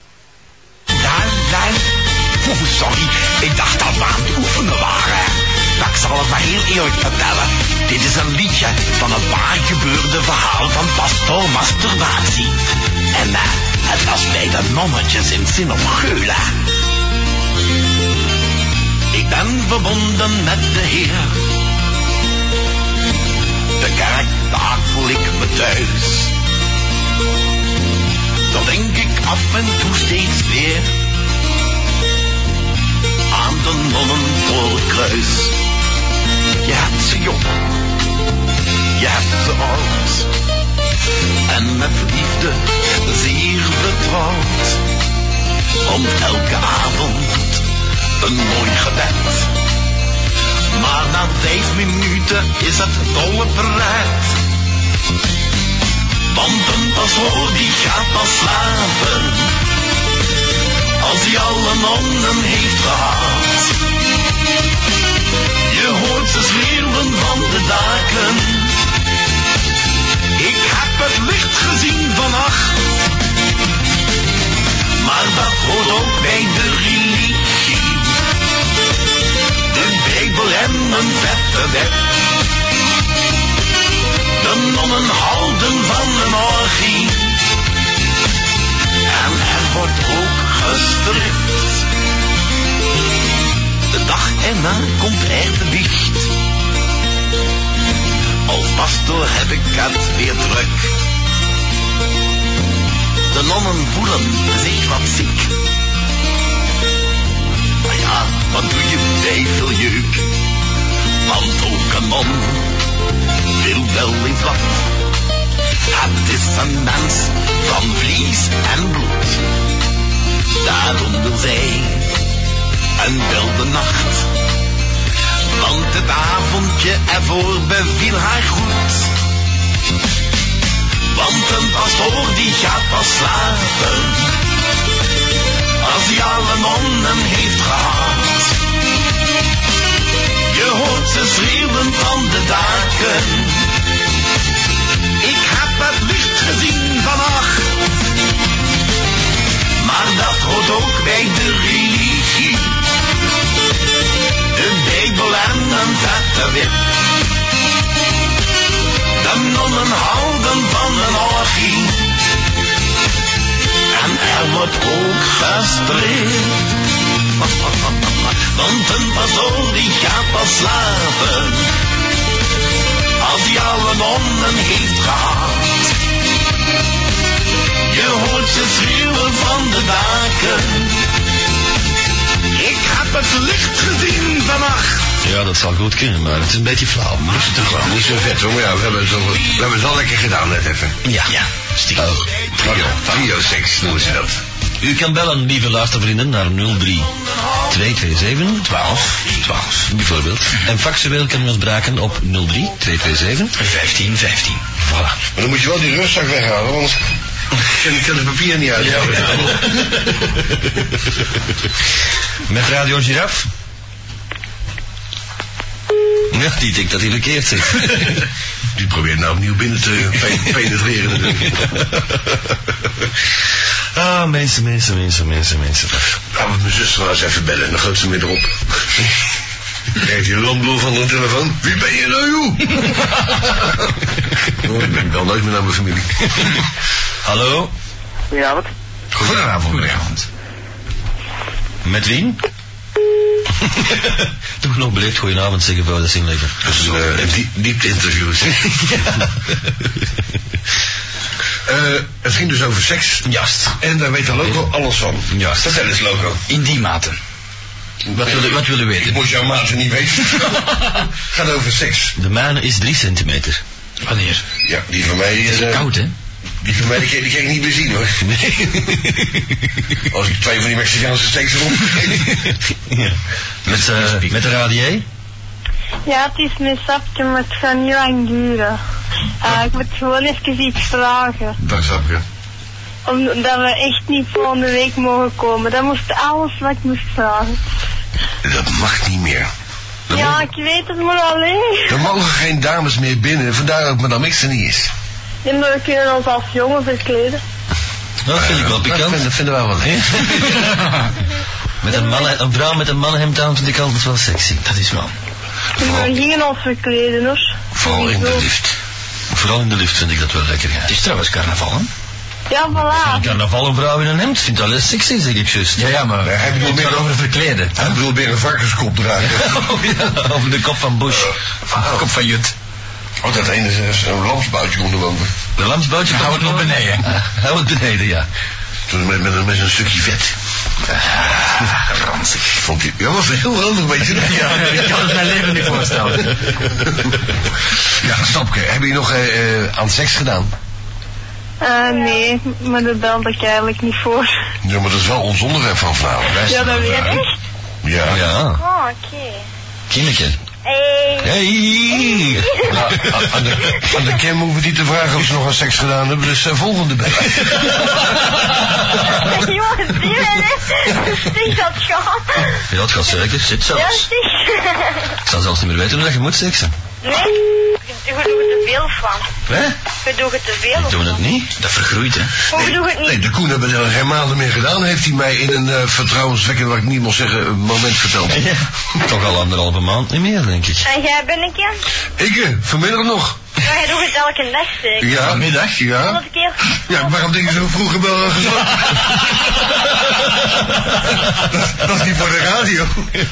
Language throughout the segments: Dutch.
over, Oh, sorry. Ik dacht dat we aan het oefenen waren. Maar ik zal het maar heel eerlijk vertellen. Dit is een liedje van een waar gebeurde verhaal van pastoor masturbatie. En eh, het was bij de nonnetjes in Zin of Geulen. Ik ben verbonden met de Heer. De kerk, daar voel ik me thuis. Dan denk ik af en toe steeds weer aan de nonnen voor het kruis. Je hebt ze jong, je hebt ze oud. En met liefde zeer vertrouwd. Om elke avond een mooi gebed. Maar na vijf minuten is het dolle pret. Want een pastoor die gaat pas slapen. Als hij alle nonnen heeft gehad. Je hoort ze schreeuwen van de daken. Ik heb het licht gezien vannacht. Maar dat hoort ook bij de religie. De Bijbel en een vette wet. De nonnen houden van een orgie. En er wordt ook gestript. De dag erna komt er de wicht. Als pastoor heb ik het weer druk. De nonnen voelen zich wat ziek. Maar ja, wat doe je bij veel jeuk? Want ook een man wil wel eens wat. Het is een mens van vlees en bloed. Daarom wil zij een wilde nacht. Want het avondje ervoor beviel haar goed. Want een pastoor die gaat pas slapen. Als hij alle nonnen heeft gehad. Je hoort ze schreeuwen van de daken. Ik heb het licht gezien vannacht. Maar dat hoort ook bij de religie. De Bijbel en een vette wit. De nonnen houden van een orgie. En er wordt ook gestript. Want een pastoor die gaat pas slapen. Als hij alle nonnen heeft gehad. Je hoort ze schreeuwen van de daken. Ik heb het licht gezien vannacht. nou, Ja, dat zal goed kunnen, maar het is een beetje flauw. Maar het is toch wel. Niet zo vet hoor, maar ja, we hebben, zo, we hebben het wel lekker gedaan net even. Ja. ja. Oh, trio, trio seks noemen ze dat. U kan bellen, lieve luistervrienden, naar 03 227 12 12 bijvoorbeeld. En faxueel kunnen we ons braken op 03 227 15 15. Voilà. Maar dan moet je wel die rustzak weghalen, anders kan ik het papier niet uit. Ja, Met Radio Giraf? Ja, die denkt dat hij verkeerd zit. Die probeert nou opnieuw binnen te pe- penetreren. natuurlijk. Ah, mensen, mensen, mensen, mensen, mensen. Laten we mijn zus maar eens even bellen, dan gooit ze weer erop. Krijgt die landbloer van de telefoon? Wie ben je nou, joh? Oh, ik ben wel nooit meer naar mijn familie. Hallo, Goedenavond. Goedenavond, Goedenavond. met wie? Toch nog beleefd goedenavond zeggen voor de zinlever. Dat is een eh, die- diepte interview. Eh, het ging dus over seks. Juist. En daar weet de loco alles van. Ja. Vertel eens, loco. In die mate. Wat wil, je- wat wil u Ik weten? moest jouw maten niet weten. Het gaat over seks. De mijne is 3 centimeter. Wanneer? Ja, die van mij... is eh, Koud, hè? Die van mij, die, kan- die kan ik niet meer zien hoor. Nee. Als ik twee van die Mexicaanse steaks erop ja. met, eh, met de radier? Ja, het is mijn sapje, maar het gaat niet lang duren. Eh, ik moet gewoon even iets vragen. Dat snap ik. Omdat we echt niet volgende week mogen komen. Dat moest alles wat ik moest vragen. Dat mag niet meer. Dat Ja, mag- ik weet het maar alleen. Er mogen geen dames meer binnen, vandaar ook madame X er niet is. Ja, maar we kunnen ons als jongen verkleden. Dat vind ik wel Dat pikant. vinden, dat vinden wij wel leuk. Met een, mannen, een vrouw met een mannenhemd aan vind ik altijd wel sexy. Dat is wel. Maar we gingen ons verkleden hoor. Vooral in de Sowieso. lift. Vooral in de lift vind ik dat wel lekker, ja. Het is trouwens carnaval, hè? Ja, Een voilà. carnaval, een vrouw in een hemd vindt dat wel sexy, zeg ik juist. Ja, ja, maar hij het bedoelt gaat meer- over verkleden. Hij wil weer een varkenskop dragen. Oh ja, over de kop van Bush. Kop van Jut. Oh, dat ene is eh, zo'n lamsboutje onderwonen. De lamsboutje Hou het komt nog beneden. Hou het beneden, ja. Toen met, met, met een stukje vet. Ah, ranzig. Vond hij, ja, was heel handig, weet je. Ja, ik kan het mijn leven niet voorstellen. ja, Stapke, heb je nog eh, eh, aan seks gedaan? Eh, nee, maar daar belde ik eigenlijk niet voor. Ja, maar dat is wel ons onderwerp van vanavond. Wij Ja, staan dat weet eruit. ik. Ja. Ja, Oh, oké. Kimmetje. Hey. Hey! Nou, aan- aan, de, aan de Kim hoeven we niet te vragen of ze nog aan seks gedaan hebben, dus eh, volgende bij. Jongens, zie je dit? Zie dat gewoon? Ja, het gaat zeker. Zit Ja, zelfs. zie Ik zal zelfs niet meer weten hoe dat je moet seksen. Nee, we doen er te veel van. Hè? We doen er te veel Doen we dat niet? Dat vergroeit, hè? Maar we doen het niet. Nee, de Koen hebben er geen maanden meer gedaan. Heeft hij mij in een eh vertrouwenswekkend, wat ik niet mocht zeggen, een moment verteld. Ja. Toch al anderhalve maand niet meer, denk ik. En jij ben ik ja? Ik, eh, vanmiddag nog. Maar jij doet het elke dag zeker. Ja. Vanmiddag? Ja. Honderd keer. Ja, waarom denk je zo vroeg hebben we al gezond? dat, dat is niet voor de radio. ik,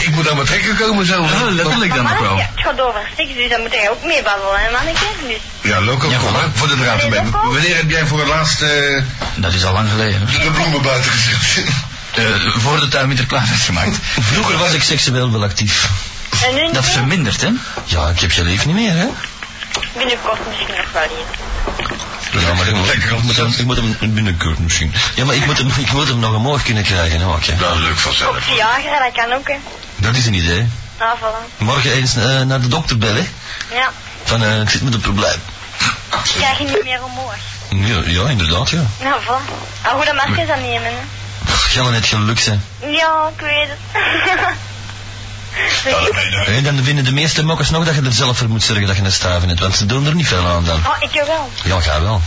ik moet aan mijn trekker komen zo. Ah, Ja, letterlijk dan ook Manneke, wel. het gaat over seks, dus dan moet jij ook mee babbelen, hè, manneke? Dus, Ja, Loco, kom maar, voor de draad erbij. Loco? Wanneer heb jij voor het laatst eh, Dat is al lang geleden. de, de bloemen buiten gezet? Eh, voor de tuin er klaar werd gemaakt. Vroeger was ik seksueel wel actief. en nu Dat niet meer. vermindert, hè? Ja, ik heb je lief niet meer, hè? binnenkort misschien nog wel iets. Ja, maar ik moet, ik moet hem, ik moet hem binnenkort misschien. Ja, maar ik moet hem, ik moet hem nog omhoog kunnen krijgen, hè, Wakje. Nou, leuk vanzelf. Viagra, dat kan ook, hè. Dat is een idee. Nou, voilà. Morgen eens eh, naar de dokter bellen. Ja, Van, eh, ik zit met een probleem. dat krijg je niet meer omhoog. Ja, ja inderdaad, ja. Nou, voilà. Maar hoe dat mag je dat nemen, hè. Pff, Gaan we net geluk zijn. Ja, ik weet het. Hé, Eh, dan vinden de meeste mokkers nog dat je er zelf voor moet zorgen dat je een staaf in hebt, want ze doen er niet veel aan dan. Oh, ik wel. Ja, ga wel.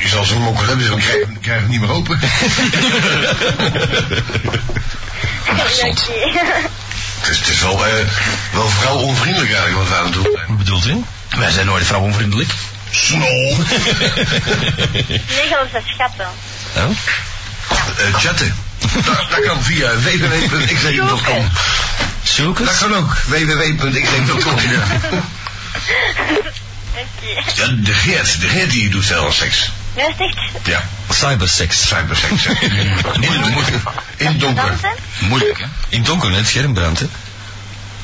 Je zal zo'n mokkel hebben, dan krijg je krijg je het niet meer open. Oké. Het is, het is wel, eh, wel vooral onvriendelijk eigenlijk wat we aan het doen zijn. Wat bedoelt u? Wij zijn nooit vrouwonvriendelijk. Snol. Nee, dat is dat schatten. Oh? Eh, chatten. dat, Nou, dat kan via www.xleven.com. Zoeken? Dat kan ook. www.xleven.com. Ja. Oké. Nou, ja, de Geert. De Geert die doet zelf seks. Dat is echt... Ja, Cyberseks. cyberseks. hè. In het donker. In het donker. Dansen? Mm. Moeilijk, hè? In het donker, net schermbrand, hè?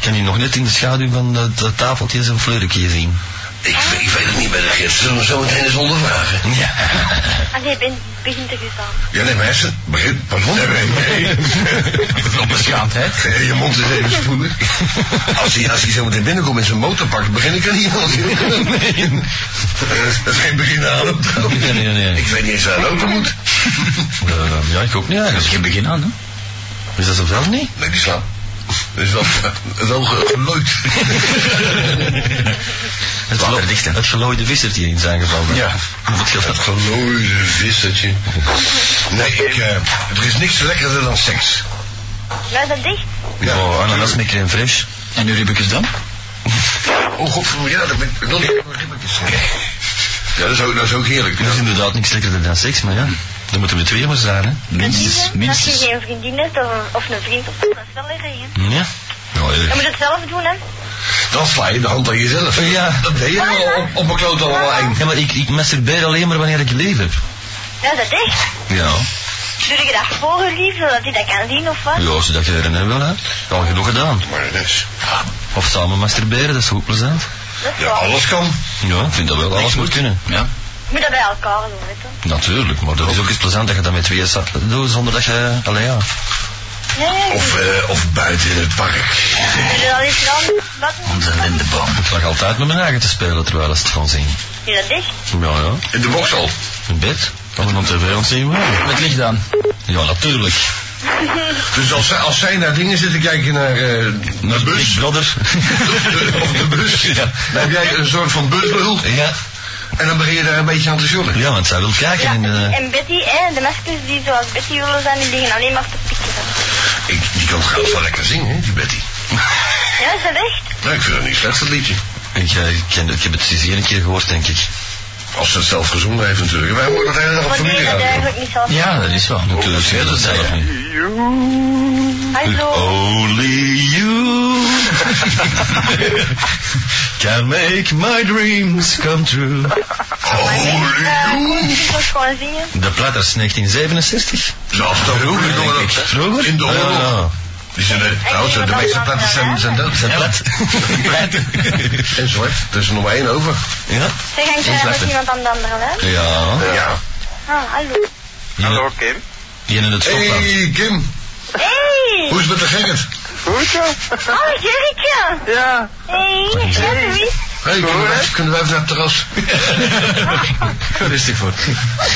Kan je nog net in de schaduw van dat, dat tafeltje zo'n fleurikje zien? Ik, ik weet het niet bij de Geert. Zullen we zo meteen eens ondervragen? Ja. Ah, nee, ben, begint er eens aan. Ja, nee, maar hij zegt- begin. Pardon? Nee, nee, nee. Onbeschaamdheid. Eh, Je mond is even spoedig. Als hij, als hij zo meteen binnenkomt in zijn motorpak, dan begin ik er niet aan. Eh, Dat is geen begin aan hem. Nee, nee, nee. Ik weet niet eens waar het auto moet. Eh, ja, ik ook niet Dat is eigenlijk. geen begin aan, hè? Is dat zo zelf niet? Nee, die slaat. Dat is wel, wel ge- gelooid. Het, gelo het gelooide visser die in zijn geval. Ja. Wat geloof Dat gelooide vissertje. Nee, ik, eh, er is niks lekkerder dan seks. Nou, dat dicht. Ja, oh, ananas met crème fraîche. En nu dus ribbekjes dan? Oh god, ja, dat ben ik nog niet ribbetjes. Ja, dat is ook, dat is ook heerlijk. Dat is inderdaad niks lekkerder dan seks, maar ja. Dan moeten we twee maar zijn, hè? Minstens, Vrienden, Als je minstens. geen vriendin hebt of een, of een vriend, of zo, dat is wel erg, hè. Ja. Je moet het zelf doen, hè. Dan sla je de hand aan jezelf. Ja. Dat deed je wel op, op een kloot allemaal eng. Ja, maar ik, ik masturbeer alleen maar wanneer ik lief heb. Nou, dat dicht. Ja. Doe je dat voor je lief, zodat hij dat kan zien, of wat? Ja, als je dat gedaan hebt, wel, hè? Al genoeg gedaan. Maar dat is... Of samen masturberen, dat is ook plezant. Dat is Ja, waar. alles kan. Ja, ik vind dat wel. Alles moet kunnen. Ja. Je moet dat bij elkaar doen, weet je. Natuurlijk, maar dat is ook eens plezant dat je dat met tweeën staat te doen zonder dat je... Eh, Allee, ja. Nee, nee, nee. Of, eh, of buiten in het park. Doe je dat eens dan? Wat? Onze lindeboom. Ik lag altijd met mijn eigen te spelen terwijl ze het van zien. Doe dat dicht. Ja, ja. In de boksal. In bed. Als een tv aan het zien waren. Met licht aan. Ja, natuurlijk. Dus als, zij- als zij naar dingen zitten kijken naar, eh naar de bus. Big Brother. of de bus. Dan heb jij een soort van busbril. ja. En dan begin je daar een beetje aan te zorgen. Ja, want zij wil kijken. Ja, en, eh, en Betty, hè, de meisjes die zoals Betty willen zijn, die liggen alleen maar te pikken. Ik, die kan trouwens wel lekker zingen, hè, die Betty. Ja, is dat echt? Nou, ik vind het niet slecht, dat liedje. ik, eh, ik ken- ik heb het sinds één keer gehoord, denk ik. Als ze het zelf gezongen heeft natuurlijk. Wij horen Oh, de hele dag op Wanneer Oh, familie dat eigenlijk niet zelf. Ja, dat is wel. Natuurlijk zingen dat zelf niet. Hallo. Only you can make my dreams come true. Oh, Eh, Kon je dit ook gewoon zingen? De platters 1967. Zelfs dat ook in de Denk ik. oorlog. Vroeger? In de oorlog. Ja. Die zijn net, trouwens, de meeste platten zijn, zijn dood. Zijn plat? En zwart, er is er nog maar één over. Ja? Zeg, hangt Eens jij met lachen. iemand aan de andere lijn? Ja. Ja. Ah, hallo. Hallo Kim. Die in het Schotland. Hey Kim, Hey! hoe is het met de Gerrit? Goed zo? Oh, Jurritje! Ja. Hey, ja, Hey. Louis. Hey, kunnen, wij, kunnen wij even naar het terras? Rustig voor.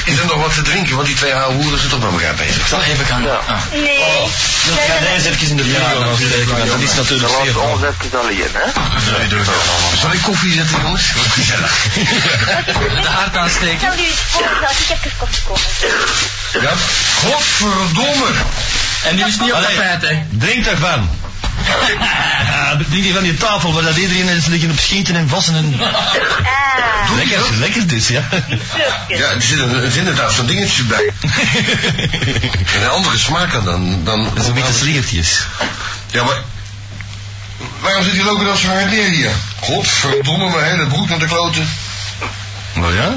Is er nog wat te drinken? Want die twee oude hoeren zijn toch met elkaar bezig. Zal even gaan. Ja. Ah. Nee. Jij bent- even in de video Ja, steken, want dat is natuurlijk Dat zeer was ons even alleen, hè? Nee, doe het wel. Zal ik koffie zetten, jongens? Wat gezellig. De haard aansteken. Stel u iets voor dat ik heb een koffie komen. Ja? Godverdomme! En nu is het niet op de Allee. feit, hè. Drink daarvan. Ja, drink die van die tafel waar dat iedereen is liggen op schieten en vassen en... Ah, Lekker, lekker dus, ja. vlugjes. Ja, er zit, een- er zit inderdaad zo'n dingetje bij. En een andere smaak aan dan... dan Zo'n beetje sliertjes. Ja, maar... Waarom zit die lopen dat zo hard neer hier? Godverdomme, mijn hele broek naar de kloten. Nou ja,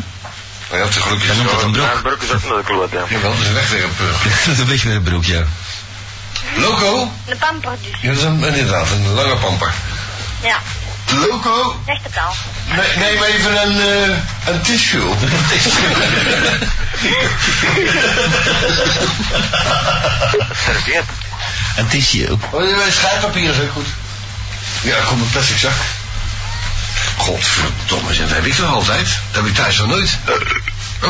Nou ja, te gelukkig dan is noemt dat wel- een Mijn broek. broek is ook naar de kloot, hè? Jawel, dat is een wegwerp. eh. Dat is een wegwerpbroek, ja. Loco? De pamper dus. Ja, dat is een, inderdaad, een lange pamper. Ja, Loco? echte taal. Ne- neem even een, eh, een tissue. Serveert. En het is je ook. Oh, nee, schrijfpapier is ook goed. Ja, kom een plastic zak. Godverdomme, zeg, dat heb ik toch altijd? Dat heb ik thuis nog nooit. Oh, Eh.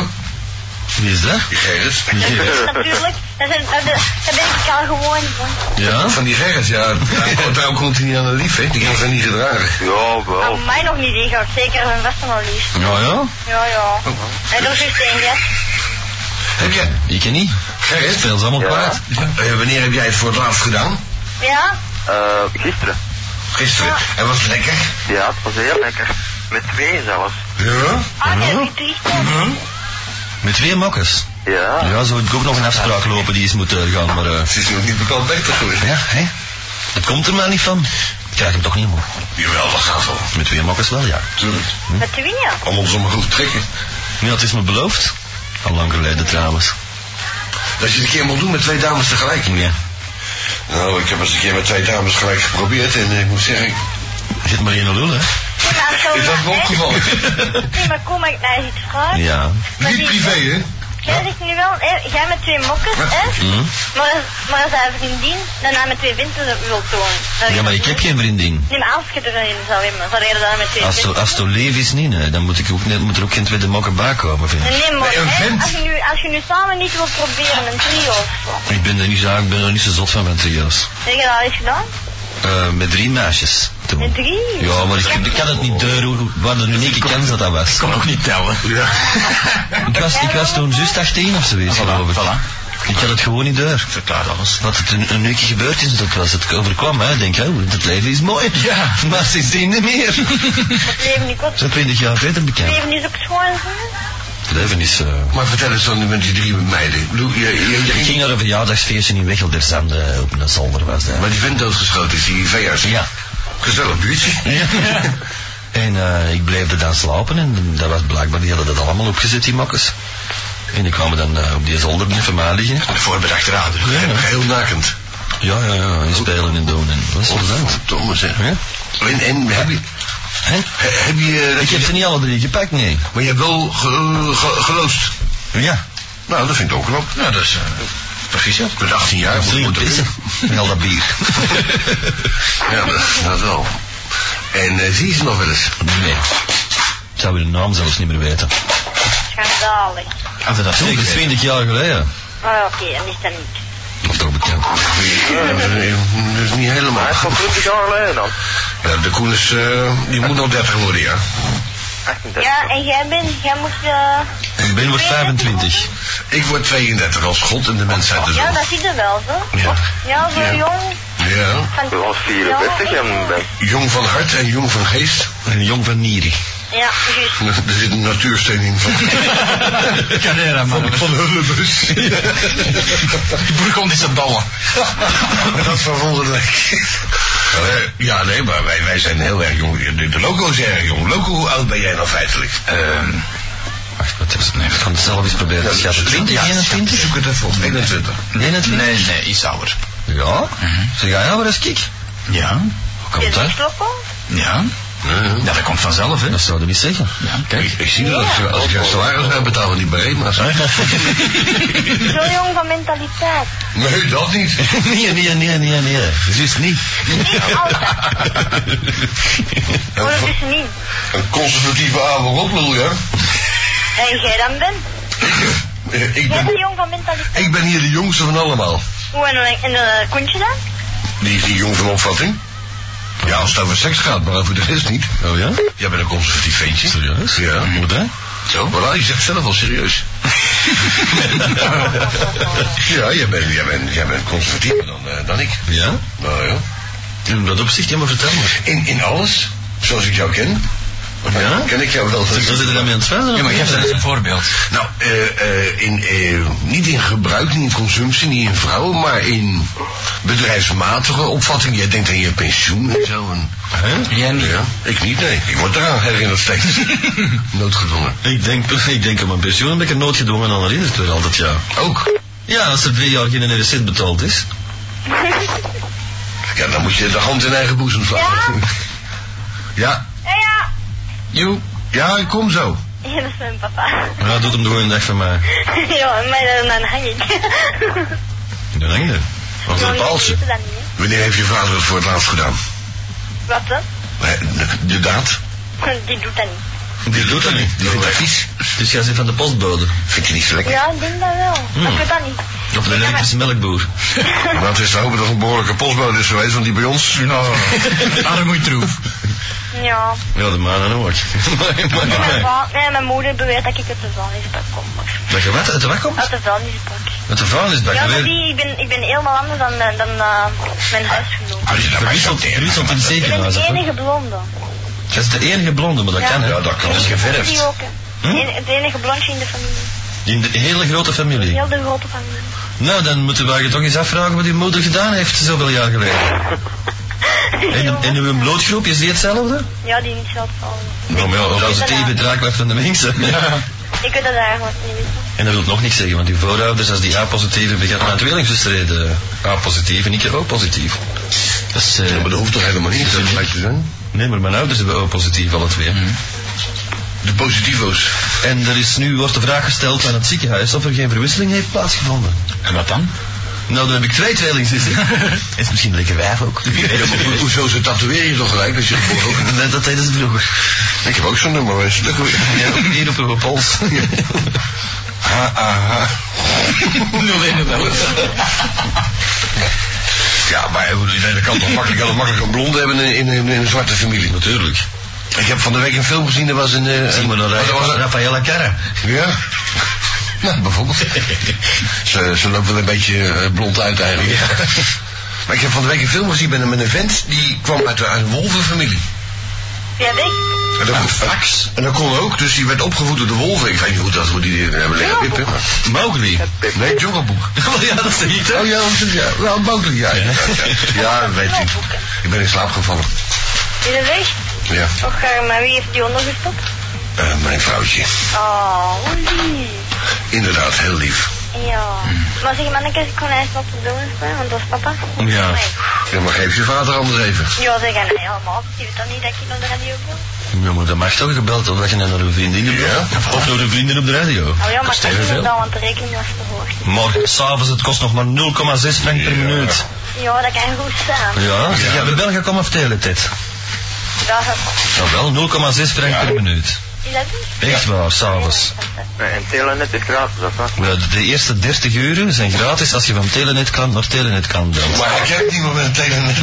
Wie is dat? die Gerrit. Dus Natuurlijk, dat, zijn, dat, dat ben ik al gewoon van. Ja? Van die Gerrit, ja. Daarom, daarom komt hij niet aan de lief, hè. Die kan zich niet gedragen. Ja, wel. Aan mij nog niet, die gaat zeker hun best wel lief. Ja, ja. Ja, ja. En dat is het enige. Heb jij... Ik ken niet. Gerrit? Speel ze allemaal Ja. kwaad. Eh, wanneer heb jij het voor het laatst gedaan? Ja? Eh, gisteren. Gisteren. En was het lekker? Ja, het was heel lekker. Met twee zelfs. Ja. Ah, nee, Mhm. die toeristen. Met twee mokkers. Ja. Ja, zo heb ik ook nog een afspraak lopen die is moet eh, gaan, maar... eh, Het is nog niet bekend beter geworden. ja, hè? Het komt er maar niet van. Ik krijg hem toch niet, man. Jawel, dat gaat wel. Met twee mokkers wel, ja. Tuurlijk. Met de winnen. Allemaal zomaar goed trekken. Ja, het is me beloofd. Al lang geleden trouwens. Dat je het een keer moet doen met twee dames tegelijk. Ja. Nou, ik heb eens een keer met twee dames gelijk geprobeerd en eh, ik moet zeggen, Zit maar in een lul, hè? Nee, maar zo is dat me opgevallen? Nee, maar kom, maar ik naar iets vragen. Ja. Maar die- Niet privé, hè? Jij zegt nu wel, hè, jij met twee mokkers, hè? Hm? Maar als, maar als hij vriendin daarna met twee winters wil tonen. Ja, maar ik heb geen vriendin. Nee, maar als je er een zou hebben, zou jij er dan met twee Als het- winten- als het leef is niet, hè, dan moet, ik ook, net- moet er ook geen tweede mokker bij komen, vind ik. Nee, maar Nee, een hè, vent. als, je nu, als je nu samen niet wilt proberen, een trio of zo. Ik ben er niet, zo- ik ben er niet zo zot van, van trio's. Heb je dat al eens gedaan? Eh, met drie meisjes. toen. Met drie? Ja, maar ik, ik kan het niet deuren wat een unieke kans dat dat was. Kan ook niet tellen. Ik was, ik was toen juist 18 of zoiets, geloof ik. Ah, Voilà. Ik had het gewoon niet deur. Verklaar alles. Wat het een, een weekje gebeurd is, dat was het overkwam. Hè. Ik denk, oh, het leven is mooi. Ja. Maar sindsdien niet meer. Het leven niet kort. Zo'n 20 jaar verder Het bekend. leven is ook schoon, hè? Het leven is... eh, Maar vertel eens dan met die drie meiden. Lou, je, je, je Ik ging- ging naar een verjaardagsfeestje in Wechel der Zanden op een zolder was dat. Maar die vent doodgeschoten is, die VR's. Ja. Gezellig buurtje. En eh, ik bleef er dan slapen en dat was blijkbaar, die hadden dat allemaal opgezet, die makkers. En die kwamen dan eh, op die zolder van mij liggen. Voorbedacht raden. Ja, ja. Heel nakend. Ja, ja, ja, en spelen en doen en dat is plezant. Domme zeg. Ja? En, en heb je... Hè? he- Heb je... eh, dat Ik heb je- ze niet alle drie gepakt, nee. Maar je hebt wel ge, ge- geloost. Ja, Nou, dat vind ik ook knap. Nou, dus. eh, Precies, ja. Met 18 jaar. moet- drie moet dat pissen. En al dat bier. kunnen. Ja, dat, dat wel. En eh, zie je ze nog wel eens? Nee. Ik zou hun naam zelfs niet meer weten. Schandalig. Als we dat doen. Zeg, dat is 20 jaar geleden. Maar oké, dan is dat niet. Of toch bekend. Ja, dat is- dat is niet helemaal. Maar het is al 20 jaar geleden dan. Ja, de Koen is, eh, die moet nog 30 worden, ja. 38. Ja, en jij bent, jij moet... eh, En Ben wordt 25. Ik word 32 als God en de dus mensheid de ja, zon. dat ziet er wel zo. Ja. Ja, zo Ja. jong. ja. Van, Wel 54 en ben. Jong van hart en jong van geest. En jong van Nieren. Ja, juist. Er zit een natuursteen in van, Carrera, man. van, van Hullebus. Die broer komt is op ballen. Dat van Wonderlijk. Eh, Ja, nee, maar wij, wij zijn heel erg jong. De, de loco is erg jong. Loco, hoe oud ben jij nou feitelijk? Eh, Ehm, wacht, wat is het nou? nu? Ik kan het zelf eens proberen. Dat gaat 20, 21? Zoek het even op. 21. Nee, net Nee, nee, iets ouder. Ja? Mhm. Zeg, ja, maar dat is kik. Ja, Hoe kan Je dat? ligt ook al. ja. Ja, dat komt vanzelf, hè. Dat zou je niet zeggen. Ja, Ik, kijk. ik zie dat als, je- als ik jouw salaris nou betaal, die Barema's. Zo jong van mentaliteit. Nee, dat niet. nee, nee, nee, nee, nee. Juist niet. Niet altijd. Hoor het Een, dus niet. een conservatieve avond lul ja. En jij dan bent. Ik Jij bent ben, jong van mentaliteit. ik ben hier de jongste van allemaal. Hoe en, en, en eh, kon je dat? Die is niet jong van opvatting. Ja, als het over seks gaat, maar over de rest niet. Oh ja? Jij bent een conservatief ventje. Serieus? Ja. Hoe dat? Zo? Voilà, je zegt zelf al serieus. ja, jij bent, jij bent, jij bent conservatiever dan, eh, dan ik. Ja? Nou ja. In dat opzicht, ja, maar vertel maar. In, in alles, zoals ik jou ken. Ja? Ken ik jou wel. Dus dan zitten we daarmee aan het verder. Ja, maar geef dat eens een voorbeeld. Nou, eh, eh, in, eh, niet in gebruik, niet in consumptie, niet in vrouwen, maar in bedrijfsmatige opvatting. Jij denkt aan je pensioen en zo. En, Hè? Jij niet. ja, ik niet, nee. Ik word eraan herinnerd steeds. Noodgedwongen. Ik denk, ik denk aan mijn pensioen, ben ik er noodgedwongen aan herinnerd weer altijd, ja. Ook. Ja, als er drie jaar geen recent betaald is. Ja, dan moet je de hand in eigen boezem slaan. Ja, Ja, ja. Joe. ja, ik kom zo. Ja, dat is mijn papa. Maar dat doet hem gewoon een dag van mij. ja, maar dan, dan hang ik. Dan hang je. Wat Jongen, een paaltje. weten dat niet, hè. Wanneer heeft je vader het voor het laatst gedaan? Wat dan? Eh, de- De daad? Die doet dat niet. Die doet dat niet. Die vindt dat vies. Dus jij zit van de postbode. Vindt hij niet zo lekker? Ja, ik denk dat wel. Maar ik weet dat niet. Of een elektrische melkboer. Maar het is te hopen dat het een behoorlijke postbode is geweest, want die bij ons... Nou, Armoeitroef. Ja. Ja, de maan en ook. Maar- maar- En mijn, maar- va- nee, mijn moeder beweert dat ik uit de vuilnisbak kom. maar- Dat je wat uit de weg komt? Uit de vuilnisbak. Met de vuilnisbak. Ja, maar weer- die, ik, ben, ik ben helemaal anders dan, eh, dan eh, mijn huisgenoot. als je dat maar Rusland accepteert. Rusland in het Ik ben ziekenhuis. de hè? enige blonde. Dat is de enige blonde, maar dat Ja. kan hè? Dus Ja, dat kan. Dat is Die geverfd. ook. hè. Hm? En- Het enige blondje in de familie. In de hele grote familie. Heel de grote familie. Nou, dan moeten wij je toch eens afvragen wat uw moeder gedaan heeft zoveel jaar geleden. En, en uw blootgroep, is die hetzelfde? Ja, die niet zo hetzelfde. Nou, maar ja, als het even draak blijft van de mensen. Ik weet dat eigenlijk niet. weten. En dat wil nog niks zeggen, want uw voorouders, als die A-positieve beginnen aan tweelingsbestreden. A-positief en ik O-positief. Dat is, eh, Ja, maar dat hoeft toch helemaal niet, dat lijkt te zijn. nee, maar mijn ouders hebben O-positief, alle twee. De positivo's. En er is nu, wordt de vraag gesteld aan het ziekenhuis of er geen verwisseling heeft plaatsgevonden. En wat dan? Nou, dan heb ik twee tweelingzussen. is misschien lekker wijf ook. Ja, maar ho- hoezo, ze tatoeëren je toch gelijk als je geboren wordt? dat, dat deden ze vroeger. Ik heb ook zo'n nummer, maar is het ook weer... Ja, hier op uw pols. Ha, ha, ha. Nul in Ja, maar ik bedoel, je kan toch makkelijk, heel makkelijk een blonde hebben in, in, in een zwarte familie. Natuurlijk. Ik heb van de week een film gezien, dat was een... eh, Zie een- maar dan dat was rijden. een- Rafaela Carra. Ja. Nou, bijvoorbeeld. ze, ze loopt wel een beetje eh, blond uit eigenlijk. Maar ik heb van de week een film gezien met een, met een vent, die kwam uit, de- uit een wolvenfamilie. Ja, weet ik. En dat, kon, en dat kon ook, dus die werd opgevoed door de wolven. Ik weet niet hoe dat, hoe die die hebben liggen pippen. maar- Mowgli. Nee, Joggerboek. ja, dat zeg ik Oh ja, dat is het, ja. Wel, Mowgli, ja. Ja, ja. Ja, dat weet ik. Ik ben in slaap gevallen. Is het echt? Ja, Och, eh, maar wie heeft die ondergestopt? eh, mijn vrouwtje. Oh, hoe lief. Inderdaad, heel lief. Ja. Maar zeg, mannetjes, ik kon eerst op de doos spelen, want dat is papa. Oh, Ja. Nee. Ja, maar geef je vader anders even. Ja, zeg, en nee, helemaal. Die weet dan niet dat ik naar de radio wil. Ja, maar dat mag toch gebeld omdat je naar een vriendin hebt. Ja. Of door een vriendin op de radio. Oh ja, maar Kost dat is evenveel. niet dan, want de rekening was te hoog. Maar s'avonds, het kost nog maar 0,6 frank per Ja. minuut. Ja, dat kan goed zijn. Ja, zeg, ja. bij België kom of Teletet. Dat, Nou wel, 0,6 frank per minuut. Echt waar, s'avonds. Nee, en Telenet is gratis, of wat? Ja, de- de eerste 30 euro zijn gratis als je van telenet klant naar telenet klant belt. Maar ik kijk niet meer met een telenet.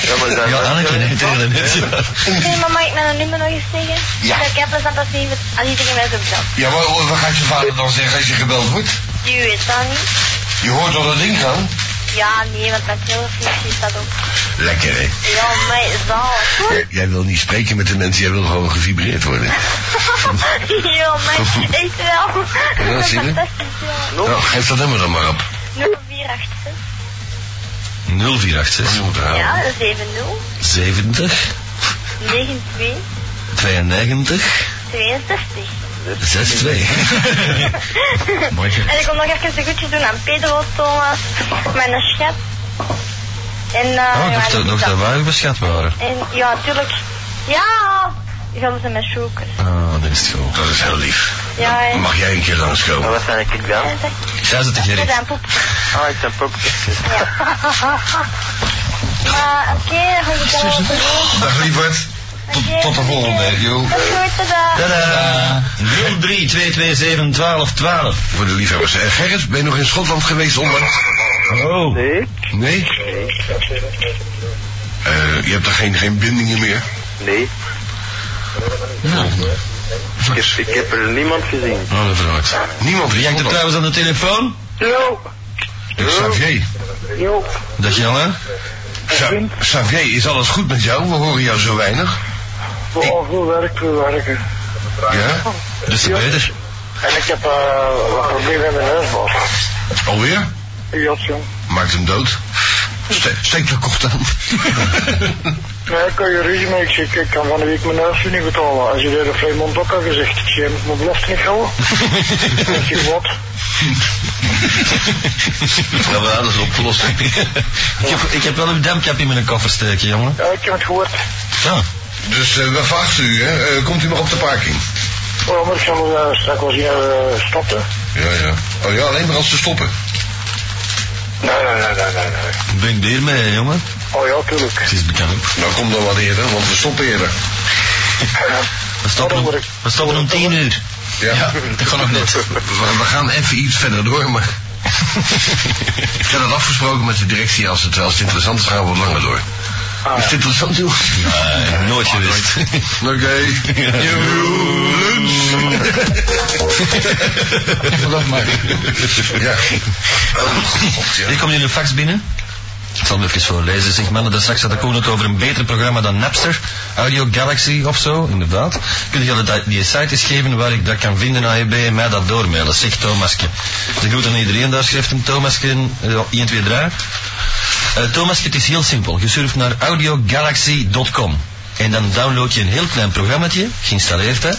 Ja, maar daar Ja, Anneke, nee, telenet. ja. Hey, mama, ik mijn nummer nog eens zeggen. Ja. Ik heb dat pas niet met, als hij tegen mij zo vertelt. Ja, maar wat gaat je vader dan zeggen als je gebeld wordt? Die weet dat niet. Je hoort door dat ding gaan. Ja, nee, want mijn telefoon staat op. Lekker, hè? Ja, mij zalig. Jij, jij wil niet spreken met de mensen, jij wil gewoon gevibreerd worden. ja, mij echt wel. Ja, zie je? Fantastisch, ja. Nou, geef dat nummer dan maar op. 0486. 0486 Je Oh, moet eraan. Ja, Oh. 70. 70 92. 92 62. 62. En ik kom nog even de goedjes doen aan Pedro, Thomas, mijn schat. En, eh, Oh, ik ja, dacht dat, nog dat. Ah, dat wij beschat waren. En ja, natuurlijk. Ja! Ik wilde ze met zoeken. Ah, dat is het goed. Dat is heel lief. Ja, en Mag jij een keer Ja, langskomen? wat ben ik dan? en zeg, Jij zit te ze gerecht. zijn poep. Ah, ik ben popje. Ja. maar oké, okay, goed. dan- Dag lieverd. Tot, tot de volgende, joh. Dat is goed, tada. Tada! 03 227 1212. Voor de liefhebbers. Eh, Gerrit, ben je nog in Schotland geweest onlangs? Oh. Nee? Nee? Eh, je hebt daar geen, geen bindingen meer? Nee. Nou. Ik heb, ik heb er niemand gezien. Oh, dat verhaakt. Niemand in Wie hangt er Schotland. trouwens aan de telefoon? Jo! Xavier. Jo! Dag Janne. Xa- Xavier, is alles goed met jou? We horen jou zo weinig. Oh, veel werk, veel werken. Ja? Dus de beter. En ik heb eh wat problemen met mijn huisbaas. Alweer? Jot, jong. Maakt hem dood. Ste steek de kocht aan. Nee, ik kan je ruzie mee. Ik, zeg, ik kan van de week mijn huis niet betalen. Als je daar de Fremont ook al gezegd. Ik zei, moet mijn belofte niet houden. Ik zeg, wat? Nou, we hadden ze opgelost. Ik heb, ik heb wel een dampkap in mijn koffer steken, jongen. Ja, ik heb het gehoord. Ja. Dus eh, we verwachten u, hè? Eh, komt u nog op de parking? Oh, maar ik zal eh, straks wel zien eh, naar de stad, hè. Ja, ja. Oh ja, alleen maar als ze stoppen. Nee, nee, nee, nee, nee, nee. Breng bier mee, jongen. Oh ja, tuurlijk. Het is bekend. Nou, kom dan wat eerder, want we stoppen eerder. We stoppen, om- we stoppen om 10 uur. Ja, dat kan nog net. We, we gaan even iets verder door, maar... ik heb het afgesproken met de directie, als het, als het interessant is, gaan we wat langer door. Is het interessant, Ah, joh? Nee, nooit geweest. Oké. Dat maar. Ja. Oh, god, ja. Hier komt hier een fax binnen. Ik zal hem even voorlezen. Zegt mannen, daar straks had ik ook nog over een beter programma dan Napster. Audio Galaxy of zo, inderdaad. Kun je dat, die site eens geven waar ik dat kan vinden aan EB en mij dat doormailen, zegt Thomaske. De groet aan iedereen daar, schrijft hem Thomaske eh, 1, 2, 3. Eh Thomaske, het is heel simpel. Je surft naar audiogalaxy.com en dan download je een heel klein programmaatje, geïnstalleerd hè.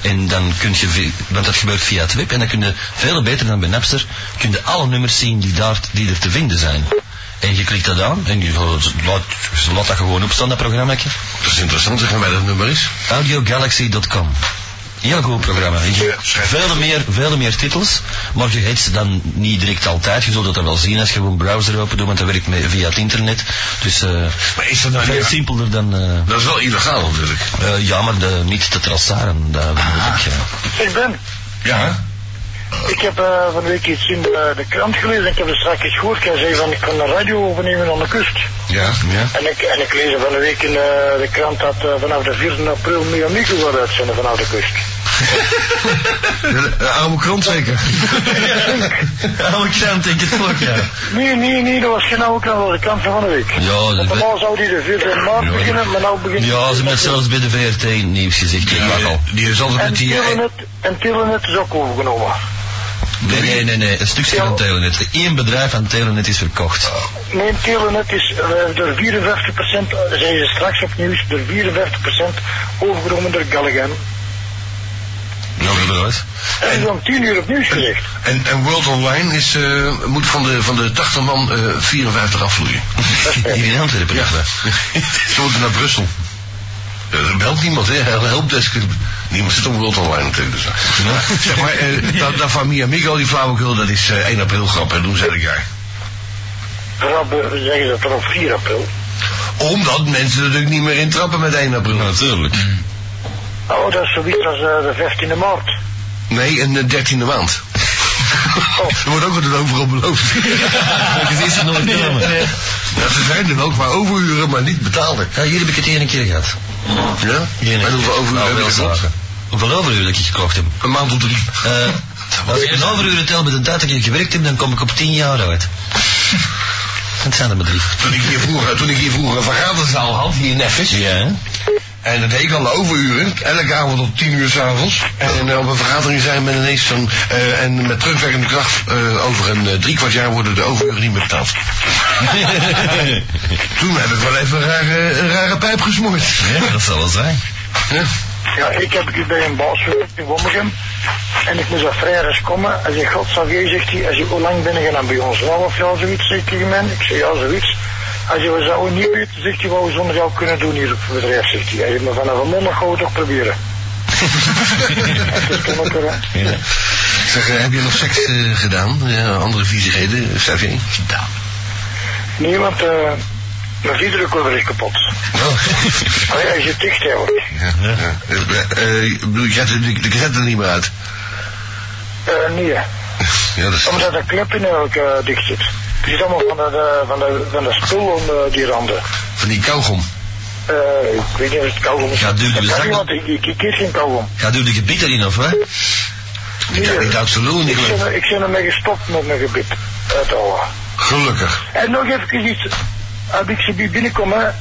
En dan kun je, vi- want dat gebeurt via het web, en dan kun je veel beter dan bij Napster, kun je alle nummers zien die, daar, die er te vinden zijn. En je klikt dat aan en je laat, laat dat gewoon opstaan, dat programmaatje. Dat is interessant, zeg maar, waar dat nummer is. Audiogalaxy.com. Heel goed programma. Je, schrijf. veel, meer, veel meer titels, maar je heet ze dan niet direct altijd. Je zult dat dan wel zien als je gewoon een browser open doet, want dat werkt mee, via het internet. Dus eh, Maar is dat nou veel niet- simpeler dan... eh, Dat is wel illegaal, natuurlijk. Ah. eh, ja, maar de, niet te traceren, dat moet ik... eh, Ik ben. Ja. Ik heb eh, van de week iets in de, de krant gelezen. Ik heb het straks eens gehoord. Jij zei van, ik kan de radio overnemen aan de kust. Ja. Ja. En ik, en ik lees van de week in eh, de krant dat eh, vanaf de 4 april Miamico wordt uitzenden vanaf de kust. De, de oude krant zeker. Oude krant, denk ik het ook, ja. Nee, nee, nee, dat was geen oude krant, dat was de krant van van de week. Ja, dat- Want normaal zou die de 4 maart beginnen, maar nou begint... ja, ze hebben het zelfs bij de VRT in het nieuws gezegd. Ik mag al. Die is altijd En met die... eh, Telenet, en Telenet is ook overgenomen. Nee, nee, nee, nee. Een stukje van Telenet. Eén bedrijf aan Telenet is verkocht. Nee, Telenet is eh, door 54%, eh, zijn ze straks opnieuw, door 54% overgenomen door Gallagher. Nou, dat was. Dat is om 10 uur opnieuw gezegd. En, en World Online is, eh, moet van de, van de 80 man eh 54 afvloeien. Hier in Antwerpen. Ja. Ze moeten naar Brussel. Er belt niemand, hè? Hele Helpdesk. Niemand zit om World Online natuurlijk. Dus. Zeg maar, eh, dat, dat van Miamigo, die flauwekul, dat is eh 1 april grap. Dat doen ze elk jaar. Daarop eh, zeggen ze dat er op 4 april. Omdat mensen natuurlijk niet meer intrappen met 1 april. Natuurlijk. Oh, dat is zoiets als eh, de 15e maart. Nee, een eh, dertiende maand. Er wordt ook altijd overal beloofd. Het is er nooit komen. Ja, ze zijn er ook, maar overuren, maar niet betaalde. Ja, hier heb ik het één keer gehad. Ja? Eén En hoeveel keer. overuren Nou, heb je wel gekocht? slagen. Hoeveel overuren dat ik gekocht heb? Een maand of drie. Eh, als ik een overuren tel met de tijd dat ik hier gewerkt heb, dan kom ik op 10 jaar uit. Dat zijn er maar drie. Toen ik hier vroeger, toen ik hier vroeger een vergaderzaal had, hier in Neffis. Ja, hè? En dat deed ik alle overuren, elke avond tot tien uur s'avonds. En eh, op een vergadering zijn men ineens van, eh, en met terugwerkende kracht, eh, over een eh, drie kwart jaar worden de overuren niet meer betaald. Toen heb ik wel even een rare, een rare pijp gesmoord. Ja, dat zal wel zijn. Ja. Ja, ik heb hier bij een baas gewerkt in Wommegem. En ik moest op vrijdag komen. Hij zegt, god, Xavier, zegt hij, hij zegt, hoe lang ben je dan bij ons? Nou, of ja, zoiets, zegt hij tegen mij. Ik zeg, ja, zoiets. Hij zegt, we zouden niet weten, zegt hij, wat we zonder jou kunnen doen hier op het bedrijf, zegt hij. Hij zegt, maar vanaf een mondag gaan we toch proberen. Dus Het is toch lekker, hè? Zeg, eh, heb je nog seks eh, gedaan? Ja, andere viezigheden, Xavier? Gedaan. Nee, want eh, mijn videorecorder is kapot. Allee, hij zit dicht, hè, hoor. Ja, ja. Eh, eh, ik bedoel, je gaat de, de cassette er niet meer uit. Eh, nee, Ja, dat is... omdat de klep in elk eh, dicht zit. Het zit allemaal van dat, eh, van de, van de spul om eh, die randen. Van die kauwgom. Eh, ik weet niet of het kauwgom is. Ja, duw de Dat zak kan niet, op. want ik, ik, ik eet geen kauwgom. Gaat u de gebied erin of wat? Ik Nee, dacht, ik dacht ze lul niet ik, ben, geluk. er- ik ben ermee gestopt met mijn gebit. Uit Allah. Gelukkig. En nog even iets. Als ik ze bij binnenkomen,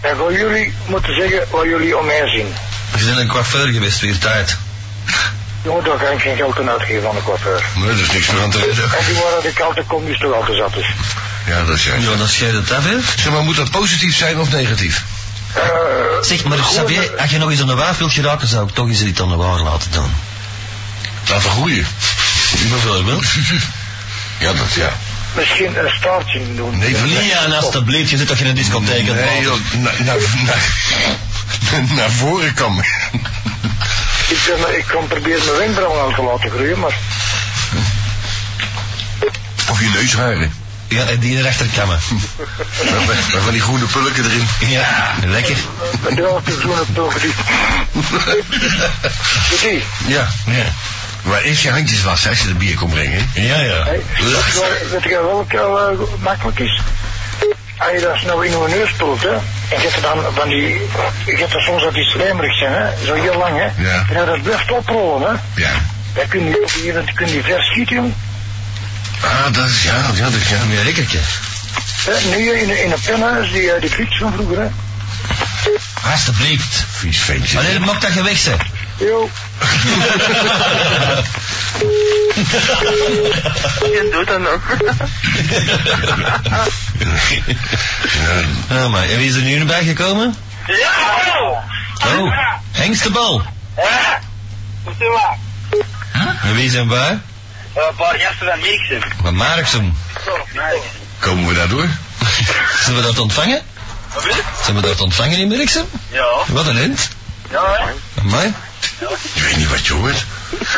dan gaan jullie moeten zeggen wat jullie om mij zien. We zijn een coiffeur geweest weer tijd. Jongen, daar kan ik geen geld aan uitgeven aan de coiffeur. Nee, er is niks meer aan te redden. En die waren de koude commies toch al gezat is. Ja, dat is juist. Ja, dan schijt het af, hè? Zeg maar, moet dat positief zijn of negatief? Eh, Zeg, maar Xavier, als je nog eens aan de waar wilt geraken, zou ik toch eens iets aan de waar laten doen. Laten groeien. Bijvoorbeeld? Ja, dat ja. misschien een staartje doen. Nee, van- Nee, ja, en alstublieft, je zit toch in een discotheek aan het Nee, water? joh, nou, na, na, na- naar voren kan. Ik, ben, ik kan proberen mijn wenkbrauwen aan te laten groeien, maar Of je neusharen. Ja, en die rechterkammen. Met- met- met van die groene pulken erin. Ja, lekker. met de helft is zo'n pulverdie. Zie, ja. Ja, Maar eerst je handjes wassen als je de bier komt brengen. ja. ja. hey, weet je wel- weet je welk eh, makkelijk is? Als je dat nou in je neus pult, hè, en je hebt er dan van die, je hebt er soms dat die slijmerig zijn, hè, zo heel lang, hè. Ja. En als dat blijft oprollen, hè, Ja. dan kun je, hier, dan kun je verschieten, jong. Ah, dat is ja, ja, dat is ja. Meer rekkertje. Hè, Nu eh, in, in een pen, hè, is die, eh, die fiets van vroeger, hè. Alsjeblieft. Vies ventje. Wanneer mag dat je weg zijn? Yo. Je doet dat nog. Ah, maar en wie is er nu bij gekomen? Ja! Oh, Hengst de bal. Hé? Hoe is het maar? En wie zijn waar? Een paar gasten van Merksen. Van Marksum. Komen we daardoor? Zullen we dat ontvangen? Wat is het? Zullen we dat ontvangen in Merksum? Ja. Wat een hint. Ja, hè? Amai. Ik weet niet wat je hoort.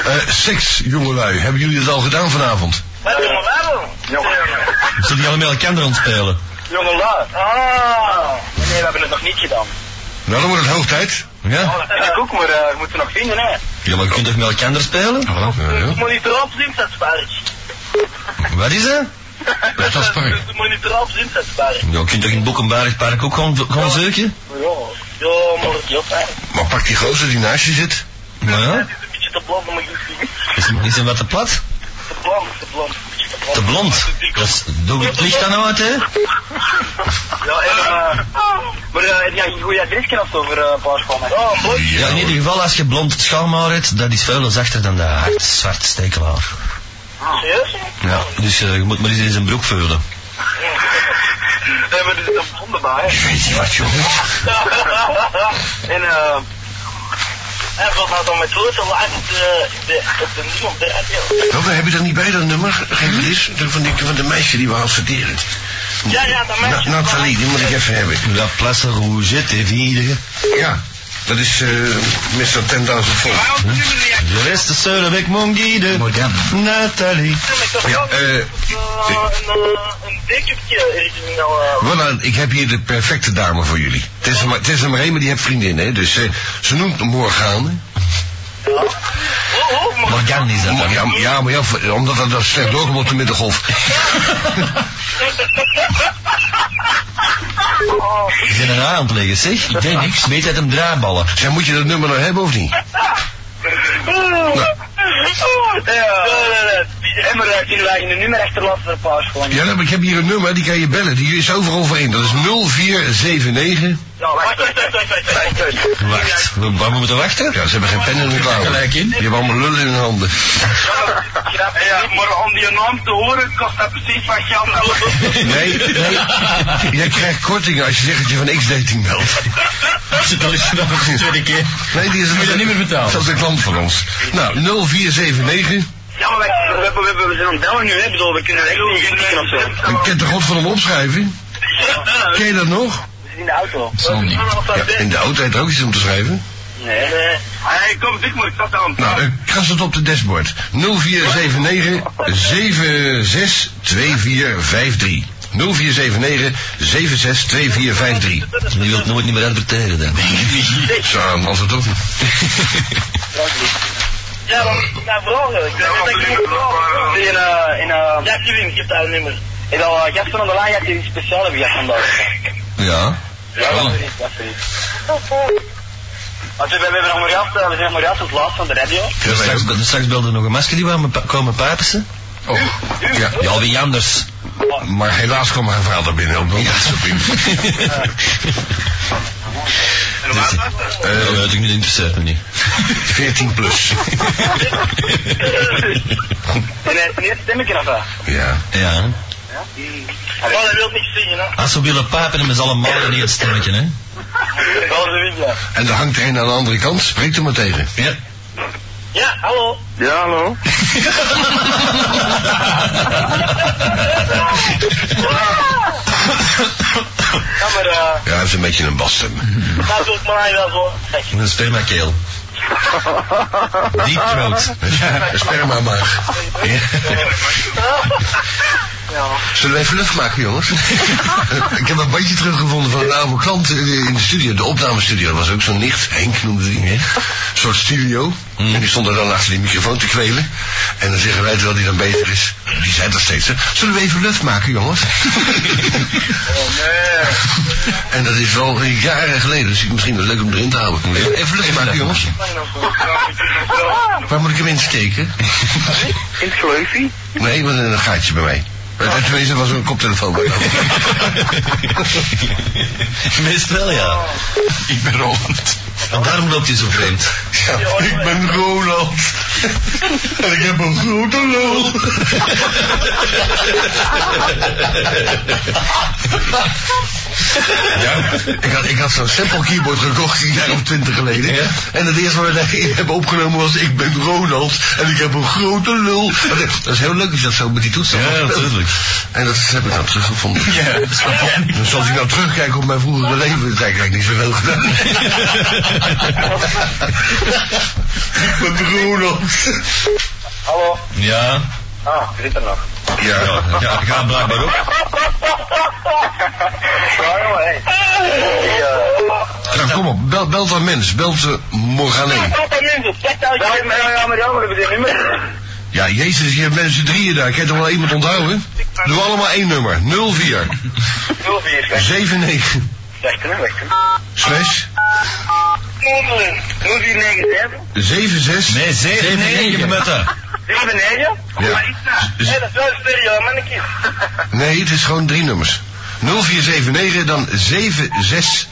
Eh, seks, jongelui. Hebben jullie het al gedaan vanavond? Wat doen we nou? Jongen. Zullen die allemaal elkaar ontspelen? Jongen, laat. Ah. Nee, we hebben het nog niet gedaan. Nou, dan wordt het hoog tijd. Ja? Oh, dat vind ik ook, maar eh, we moeten nog vinden, hè. Ja, maar je kunt toch met elkaar spelen? Ja, ja. moet niet erop zien, dat spark. Wat is dat? Dat is park. moet niet erop zien, dat spark. Ja, je kunt toch in Boekenbergpark ook gewoon, gewoon zeuken? Ja. Ja, maar het is hè. Maar pak die gozer die naast je zit. Ja. Het is een beetje te blond om het te zien. Is, is hem wat te plat? Te blond, te blond. een beetje Te blond? Dat is- doe het licht dan uit, hè? Ja, en, eh, maar eh, heb jij een goede adresje of zo voor eh, een paar schoenen? Ja, mooi. Ja, in ieder geval, als je blond het schaamhaar hebt, dat is veel zachter dan dat hard, zwart steekhaar. Serieus? Ja, dus eh, je moet maar eens in zijn broek vullen. Nee, maar dit is een blonde baan, hè. Je weet niet wat je hoort. en eh. en wat nou dan met grote laag op de, eh, de, op de nieuw op de radio? Nou, we hebben er niet bij dat nummer. Geef het eens. De- Van, die, van de meisje die we adverteren. Ja, ja, dat meisje. Na- Nathalie, die moet ik even hebben. La place rouge, het is hier. Ja. Dat is eh Mr. 10.000 Volt. Waarom doen jullie De niet? rest is zullen ik mon guide. Morgan. Nathalie. Ik dacht Ja, wel eh, een, eh, een dekentje ergens nou... eh, Voilà, ik heb hier de perfecte dame voor jullie. Het is er maar, het is er maar één, maar die heeft vriendinnen. Hè? Dus eh, ze noemt hem Morgane. Oh, oh, maar... Morgan is dat. Mo- Ja, ja, maar ja, v- omdat dat, dat slecht doorkomt op de middengolf. Ik ben een aan het leggen, zeg. Ik denk niks. Weet uit hem draaiballen. Zeg, moet je dat nummer nou hebben of niet? Ja, eh, die emmer uit die lijn, de nummer achterlaten voor een paar schoenen. Ja, maar ik heb hier een nummer, die kan je bellen. Die is overal voor één. Dat is 0479. Nou, wacht, wacht, wacht, wacht, wacht, wacht, wacht. Wacht. we- Waar moeten we wachten? Ja, ze hebben geen pen in hun klauwen. Gelijk in. Die hebben allemaal lullen in hun handen. Ja, maar om die naam te horen kost dat precies wat geld nodig. Nee, nee. Jij krijgt korting als je zegt dat je van X13 belt. Dat is vanaf de tweede keer. Nee, die is Moet je dat niet meer betalen? Dat is een klant van ons. Nou, 0479. Ja, maar wij, we, we, we, we zijn aan het bellen nu, hè? Ik bedoel, we kunnen echt niet genieten of zo. Ik ken de god van hem opschrijven. Ken je dat nog? We in de auto. zal niet. Ja, in de auto heeft er ook iets om te schrijven. Nee. Hey, kom, dik maar, ik zat aan. Nou, ik kras het op de dashboard. 0479 762453. 0479 762453. Je wilt nooit niet meer adverteren dan. Zo, man, het ook. Ja, dan ik ga vragen. Ik weet niet ik moet vragen. In, eh, in, eh... Ja, Kevin, ik heb daar een nummer. Ik wil uh, gasten aan de lijn, die iets speciaal hebben gehad vandaag. Ja. Ja, dat is niet, dat is niet. Want we, we hebben nog maar juist, eh, we zijn nog maar juist als laatst van de radio. Dus straks, dus straks belde er nog een masker die wou me pa- komen papissen. Oh, ja. Ja, wie anders? Maar helaas kwam mijn vader binnen. Ook nog. Dus, eh, dat weet ik niet, interesseert me niet. 14 plus. En hij heeft een eerste stemmetje eh. of wat? Ja. Ja. hè. Oh, dat wil niet zingen, hè? Als we willen papen, dan is allemaal een eerste stemmetje, hè. Wel, ze wil ja. En er hangt er een aan de andere kant. Spreek er maar tegen. Ja. Ja, hallo. Ja, hallo. Ja, maar, eh, Ja, hij heeft een beetje een basstem. dat doet mij wel zo. Een spermakeel. Diep groot. Ja, sperma maar. Ja. Zullen wij even lucht maken, jongens? ik heb een bandje teruggevonden van een oude klant eh, in de studio, de opnamestudio. Dat was ook zo'n nicht, Henk noemde die. Een soort studio. En die stond er dan achter die microfoon te kwelen. En dan zeggen wij, terwijl die dan beter is, die zei dat steeds, hè, zullen we even lucht maken, jongens? en dat is wel jaren geleden, dus ik- misschien wel leuk om erin te houden. Even lucht maken, jongens. Waar moet ik hem insteken? In het sleufie. Nee, maar een gaatje bij mij. Eh, Tenminste, was er een koptelefoon bij. Meestal ja. ik ben Roland. En daarom loopt hij zo vreemd. Ja, ik ben Roland. en ik heb een grote lul. ja, ik had, ik had zo'n sample keyboard gekocht een jaar of twintig geleden. Ja. En het eerste wat ik heb opgenomen was, ik ben Roland en ik heb een grote lul. Dat is heel leuk als je dat zo met die toetsen Ja, mag spelen. natuurlijk. En dat heb ik nou teruggevonden. Dus als ik nou terugkijk op mijn vroegere leven, dan krijg ik niet zoveel gedaan. ik ben Roland. Hallo. Ja. Ah, je zit er nog. Ja, Ja, ja, ga blijkbaar op. Ja, joh, hey. nou kom op, bel, belt een mens, belt uh, Morgaleen. Pak dat nummer, pak dat Ja, maar ja, maar ja, maar dat is een nummer. Ja, jezus, je hebt mensen drieën daar, ik kan toch wel iemand onthouden? Doe allemaal één nummer, 04 04, zeg. 79 Wacht, hè, wacht. hè. slash 0497. 76 Nee, 7 9 metten. 79? Ja. Maar iets na. Dus- Hé, dat is wel een stereo, mannetje. Nee, het is gewoon drie nummers. 0479, dan 76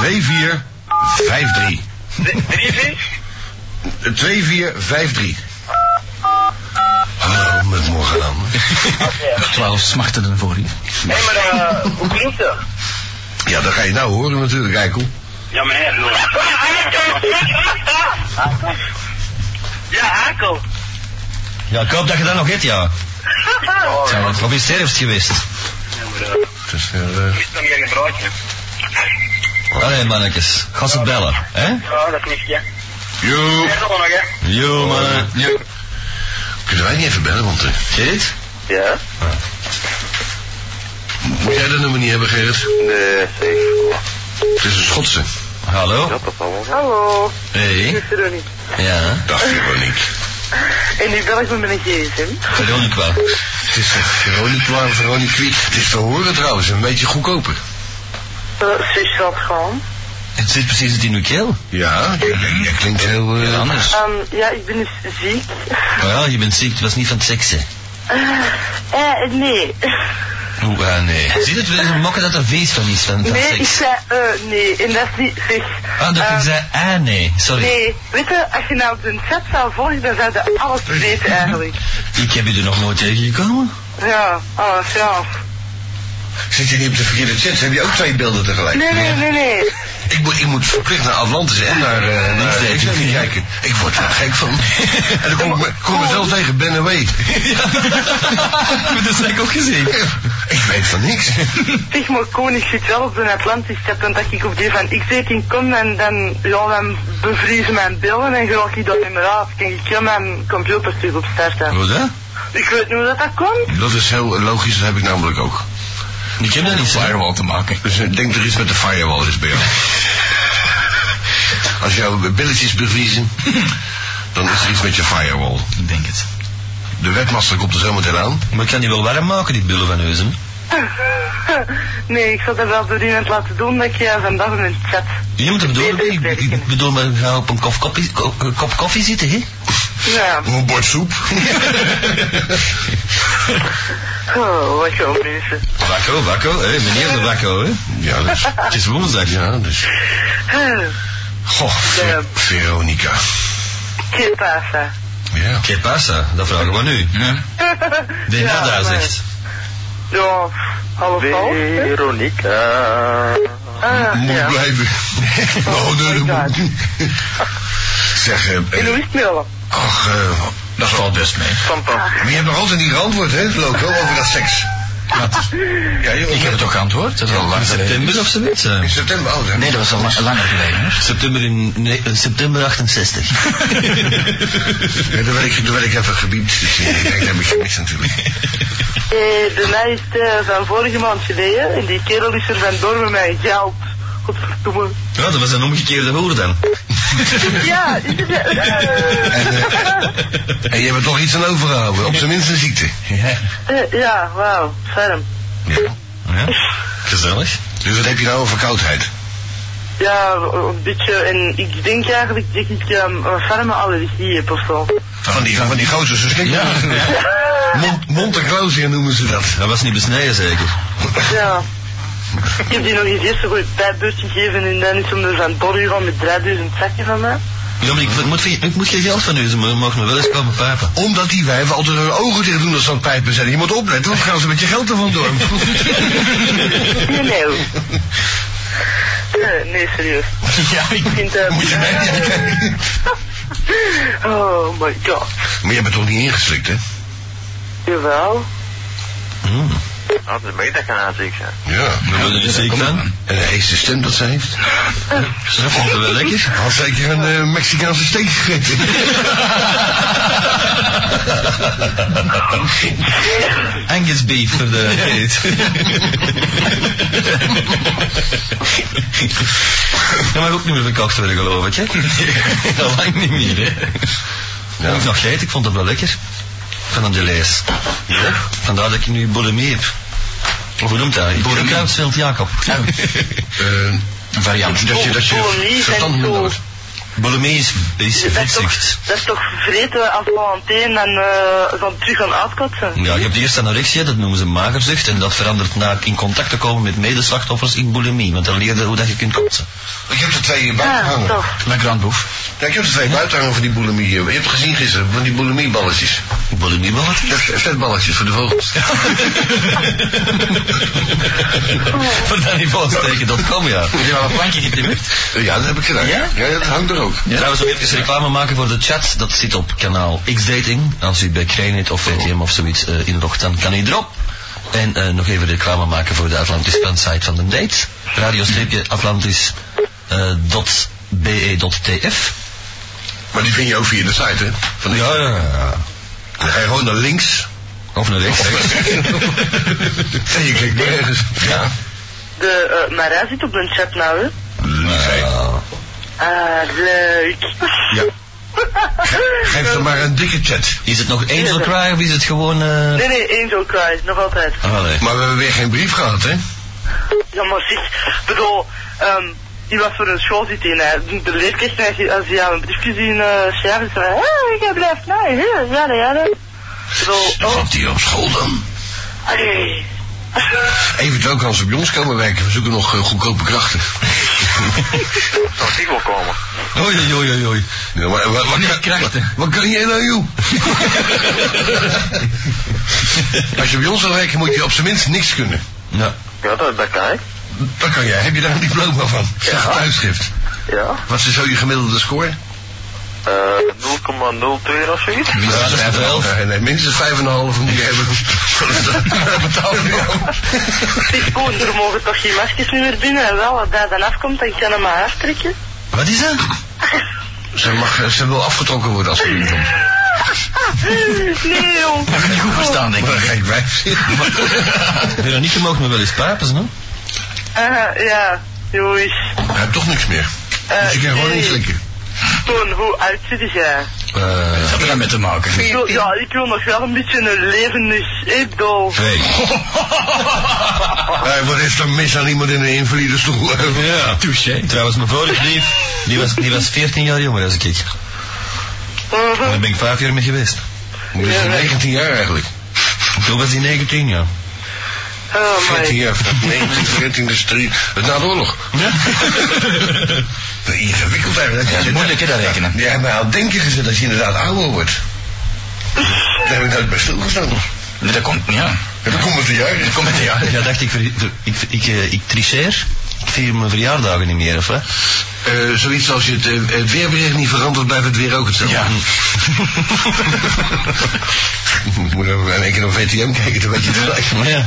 24 53. Drie, drie, vier? 2453. Hallo, met morgen aan. Twaalf smachten ervoor hier. Hé, maar eh, hoe klinkt dat? Ja, dat ga je nou horen natuurlijk, Eikel. Ja, meneer. ah, Ja, Hakel. Ja, ik hoop dat je dat nog hebt, ja. Oh, Of is het herfst geweest? Het is, eh, Ik ben een broodje. Allee, mannetjes. Ga ze bellen, hè? Oh, Ja, dat is ja. Joe. Dat is nog, hè? Yo, mannen. Yo. Kunnen wij niet even bellen, want... eh, Gerrit? Ja? moet jij dat nummer niet hebben, Gerrit? Nee, safe. Het is een Schotse. Hallo? dat allemaal. Hallo, Hey. Ronnie. Ja. Dag, Veronique. En die bel ik me met een gsm. Veronica. Het is eh, Veronique waar, Veronique wie. Het is te horen trouwens, een beetje goedkoper. Uh, Ze gaat gewoon. Het zit precies het in uw keel. Ja, jij, jij klinkt heel... eh, Anders. Ehm, ja, ik ben dus ziek. Maar ja, je bent ziek. Het was niet van het seksen. Eh, nee. Oeh, ah, nee. Ziet het weer een mokken dat er wees van is, van, van Nee, ik seks. zei eh, nee. En dat is niet zeg. Ah, dat ik Ehm, zei, ah, nee. Sorry. Nee, weet je, als je nou de chat zou volgen, dan zou je alles weten eigenlijk. Oh, Ik heb je er nog nooit tegengekomen. Ja, alles, ja. Zit je niet op de verkeerde chat? Heb je ook twee beelden tegelijk? Nee, nee, nee, nee. Ik moet, ik moet verplicht naar Atlantis en naar, eh naar Ah, Niet weten. ik zeg niet kijken. Ik word er gek van. en dan kom ik me- kom ik mezelf tegen, Ben Away. Goed, dat heb ik ook gezien. ik weet van niks. Zeg maar, Koen, ik zit wel op de Atlantische chat, en dat ik op die van X18 kom en dan, ja, dan bevriezen mijn beelden en raak ik dat in mijn raad. Kan ik heel mijn computer terug opstarten. Hoe dat? Ik weet niet hoe dat, dat komt. Dat is heel logisch, dat heb ik namelijk ook. Ik heb dat niet, hè? Firewall te maken. Dus ik denk er iets met de firewall is bij jou. Als jouw billetjes bevriezen, dan is er iets met je firewall. Ik denk het. De webmaster komt er zo meteen aan. Maar ik kan die wel warm maken, die bullen van Heuzen. Nee, ik zal dat wel door iemand laten doen dat ik je vandaag in de chat. Je moet hem doen. Ik, ik- ik bedoel, maar ga op een kop koffie, ko- eh, kop koffie zitten, hè? Ja, Een bord soep. oh, wat zo mensen. Wakko, wakko, hè? Meneer de wakko, hè? ja, dat is... Het is woensdag. Ja, dus... Goh, Ver- Veronica. Que pasa? Ja. Que pasa? Dat vragen we nu. Ja. De Ja, nada maar- zegt. Ja, half half. hè? Veronica. Ah, Moet ja. blijven. oh, nee, dat moet Zeg, eh, En hoe eh, is het met allen? ach, eh, Dat valt best mee. maar je hebt nog altijd niet geantwoord, hè, Loco, over dat seks. Ja, joh. Ik heb het ook geantwoord. Dat is al In lang geleden. september of zoiets? In eh? september, oh, Nee, dat was al la- langer geleden. hoor. September in... nee, eh, september 68. Ja, daar, werd ik, daar werd ik even gebiept. Dus eh, ik denk, dat heb ik gemist natuurlijk. Eh, bij mij is het eh, van vorige maand geleden en die kerel is er vandoor met mij geld. Godverdomme. Ja, dat was een omgekeerde hoer dan. Ja, is het... eh, En, eh, en je hebt er toch iets aan overgehouden. Op zijn minst een ziekte. Ja. eh, ja, wauw, ferm. Ja. ja. Gezellig. Dus wat heb je nou over koudheid? Ja, een beetje, en ik denk eigenlijk dat ik ehm, een ferme allergie heb of zo. Van die, van die gozer, zo slik. Ja. Ah. Mont, Monteclosia noemen ze dat. Dat was niet besneden zeker. Ja. Ik heb die nog eens eerst een goede pijpbeurt gegeven en dan is dus hem er van door gegaan met 3000 zakken van mij. Ja, maar ik, moet, vind- ik moet geen geld van u, ze mo- mogen me wel eens komen pijpen. Omdat die wijven altijd hun ogen dicht doen als ze aan het pijpen zijn. Je moet opletten, want dan gaan ze met je geld ervan door. Nee, nee. nou? Eh, Nee, serieus. ja, ik vind, eh, Moet je mij niet aankijken. Oh my god. Maar je bent toch niet ingeslikt, hè? Jawel. Hmm. Ah, de meta kan aanziek zijn. Ja. Ja, dat is zeker dan. En de eerste stem dat ze heeft. Ze vond het wel lekker. Had zeker een eh, Mexicaanse steek gegeten. Angus beef voor de reet. Ja, maar ook niet meer verkocht worden, geloof ik, hè? Al lang niet meer, hè? Heb ik nog gegeten, ik vond het wel lekker. Van een Delees. Ja? Vandaar dat ik nu bodemie heb. Of hoe noemt hij? Bodemie. Kruidsveld Jacob. Eh, Een variant. dat je, dat je Kolonie verstand en minder zo. wordt. Bodemie is, is Dat is, toch, vetzucht. dat is toch vreten als volonteen en eh dan terug gaan uitkotsen? Ja, je hebt eerst anorexia, dat noemen ze magerzucht. En dat verandert naar in contact te komen met medeslachtoffers in bulimie. Want dan leer je hoe dat je kunt kotsen. Ik heb er twee hier buiten Ja, hangen. toch. La Grande Bouffe. Ja, ik heb er twee buiten hangen van die bulimie. Je hebt gezien gisteren, van die bulimieballetjes. Bulimie wat? Vet- Vetballetjes voor de vogels. Voor dat niveau steken, dat kan ja. Een plankje getimmerd. Ja, dat heb ik gedaan. Ja? ja dat hangt er ook. Trouwens, nog even reclame maken voor de chat. Dat zit op kanaal X-Dating. Als u bij Krijnit of VTM of zoiets eh, inlogt, dan kan u erop. En eh, nog even reclame maken voor de Atlantis fansite van de date. eh, Radio-atlantis.be.tf Maar die vind je ook via de site, hè? Van de- Ja, ja, ja. Dan ga je gewoon naar links. Of naar rechts. en je klikt nergens. Ja. De, eh, maar hij zit op de chat nou, hè? Nou, Ah, leuk. ja. Ge- Geef er maar een dikke chat. Is het nog Angel Cry of is het gewoon... eh, Nee, nee, Angel Cry, nog altijd. Ah, nee. Maar we hebben weer geen brief gehad, hè? Ja, maar zeg, bedoel, ehm, in wat voor een school zit hij? hè? eh, De- De leerkracht, als je- als je aan een briefje zien uh, schrijven, is van, hé, ik blijf nou hier, ja, ja, ja. Bedoel, oh, Zat hij op school dan? allee. Eventueel kan ze bij ons komen werken. We zoeken nog eh, goedkope krachten. Zou ik wel komen? Oei, oei, oei, oei. Ja, maar, wat, wat, Nee, krachten. wat kan jij nou, joh? Als je bij ons wil werken, moet je op zijn minst niks kunnen. Ja. Ja, dat, dat kan ik. Dat kan jij. Heb je daar een diploma van? Zeg het uitschrift. Ja. Wat is zo je gemiddelde score? Eh 0,02 of zoiets. Minstens vijf en een half. Nee, nee, minstens 5,5 moet je hebben. Dat betaal je wel. Zeg, Koen, er mogen toch geen maskers niet meer binnen? En Wel, als dat dan afkomt, dan kan hem maar aftrekken. Wat is dat? Ze, mag, ze wil afgetrokken worden als ze binnenkomt. Nee, jong. Dat heb ik niet Oh. goed verstaan, denk Maar ik. gek wijf. Veronique mogen me wel eens papen, no? Eh, ja, joeis. Hij heeft toch niks meer. Eh, Dus je kan gewoon nee. niet slikken. Koen, hoe oud zit jij? Eh, Wat had er dan mee te maken? Ik wil- Ja, ik wil nog wel een beetje een levendig eetdol. nee. Hey, Eh, wat is er mis aan iemand in een invalide stoel? Ja. Touché. Trouwens, mijn vorige brief, die was, die was 14 jaar jonger als ik. En eh, Daar ben ik 5 jaar mee geweest. Die is 19 jaar eigenlijk. Toen was hij 19 jaar. Oh, 14 my. jaar, 19, 14 is 3. Het na de oorlog. Ja? Ingewikkeld eigenlijk. Ja, moeilijk, hè, dat rekenen. Jij hebt mij aan het denken gezet als je inderdaad ouder wordt. Daar heb ik nooit bij stilgestaan. Nee, dat komt, ja. Ja, dat komt met de jaren. Dat komt met de jaren. Ja, dacht ik, ver- ver- ik, ik, eh, ik tricheer. Ik vier mijn verjaardagen niet meer, of wat? Eh, zoiets als je het, eh, het weerbericht niet verandert, blijft het weer ook hetzelfde. Ja. Ik Moet even in één keer naar VTM kijken, dan weet je het gelijk. Ja.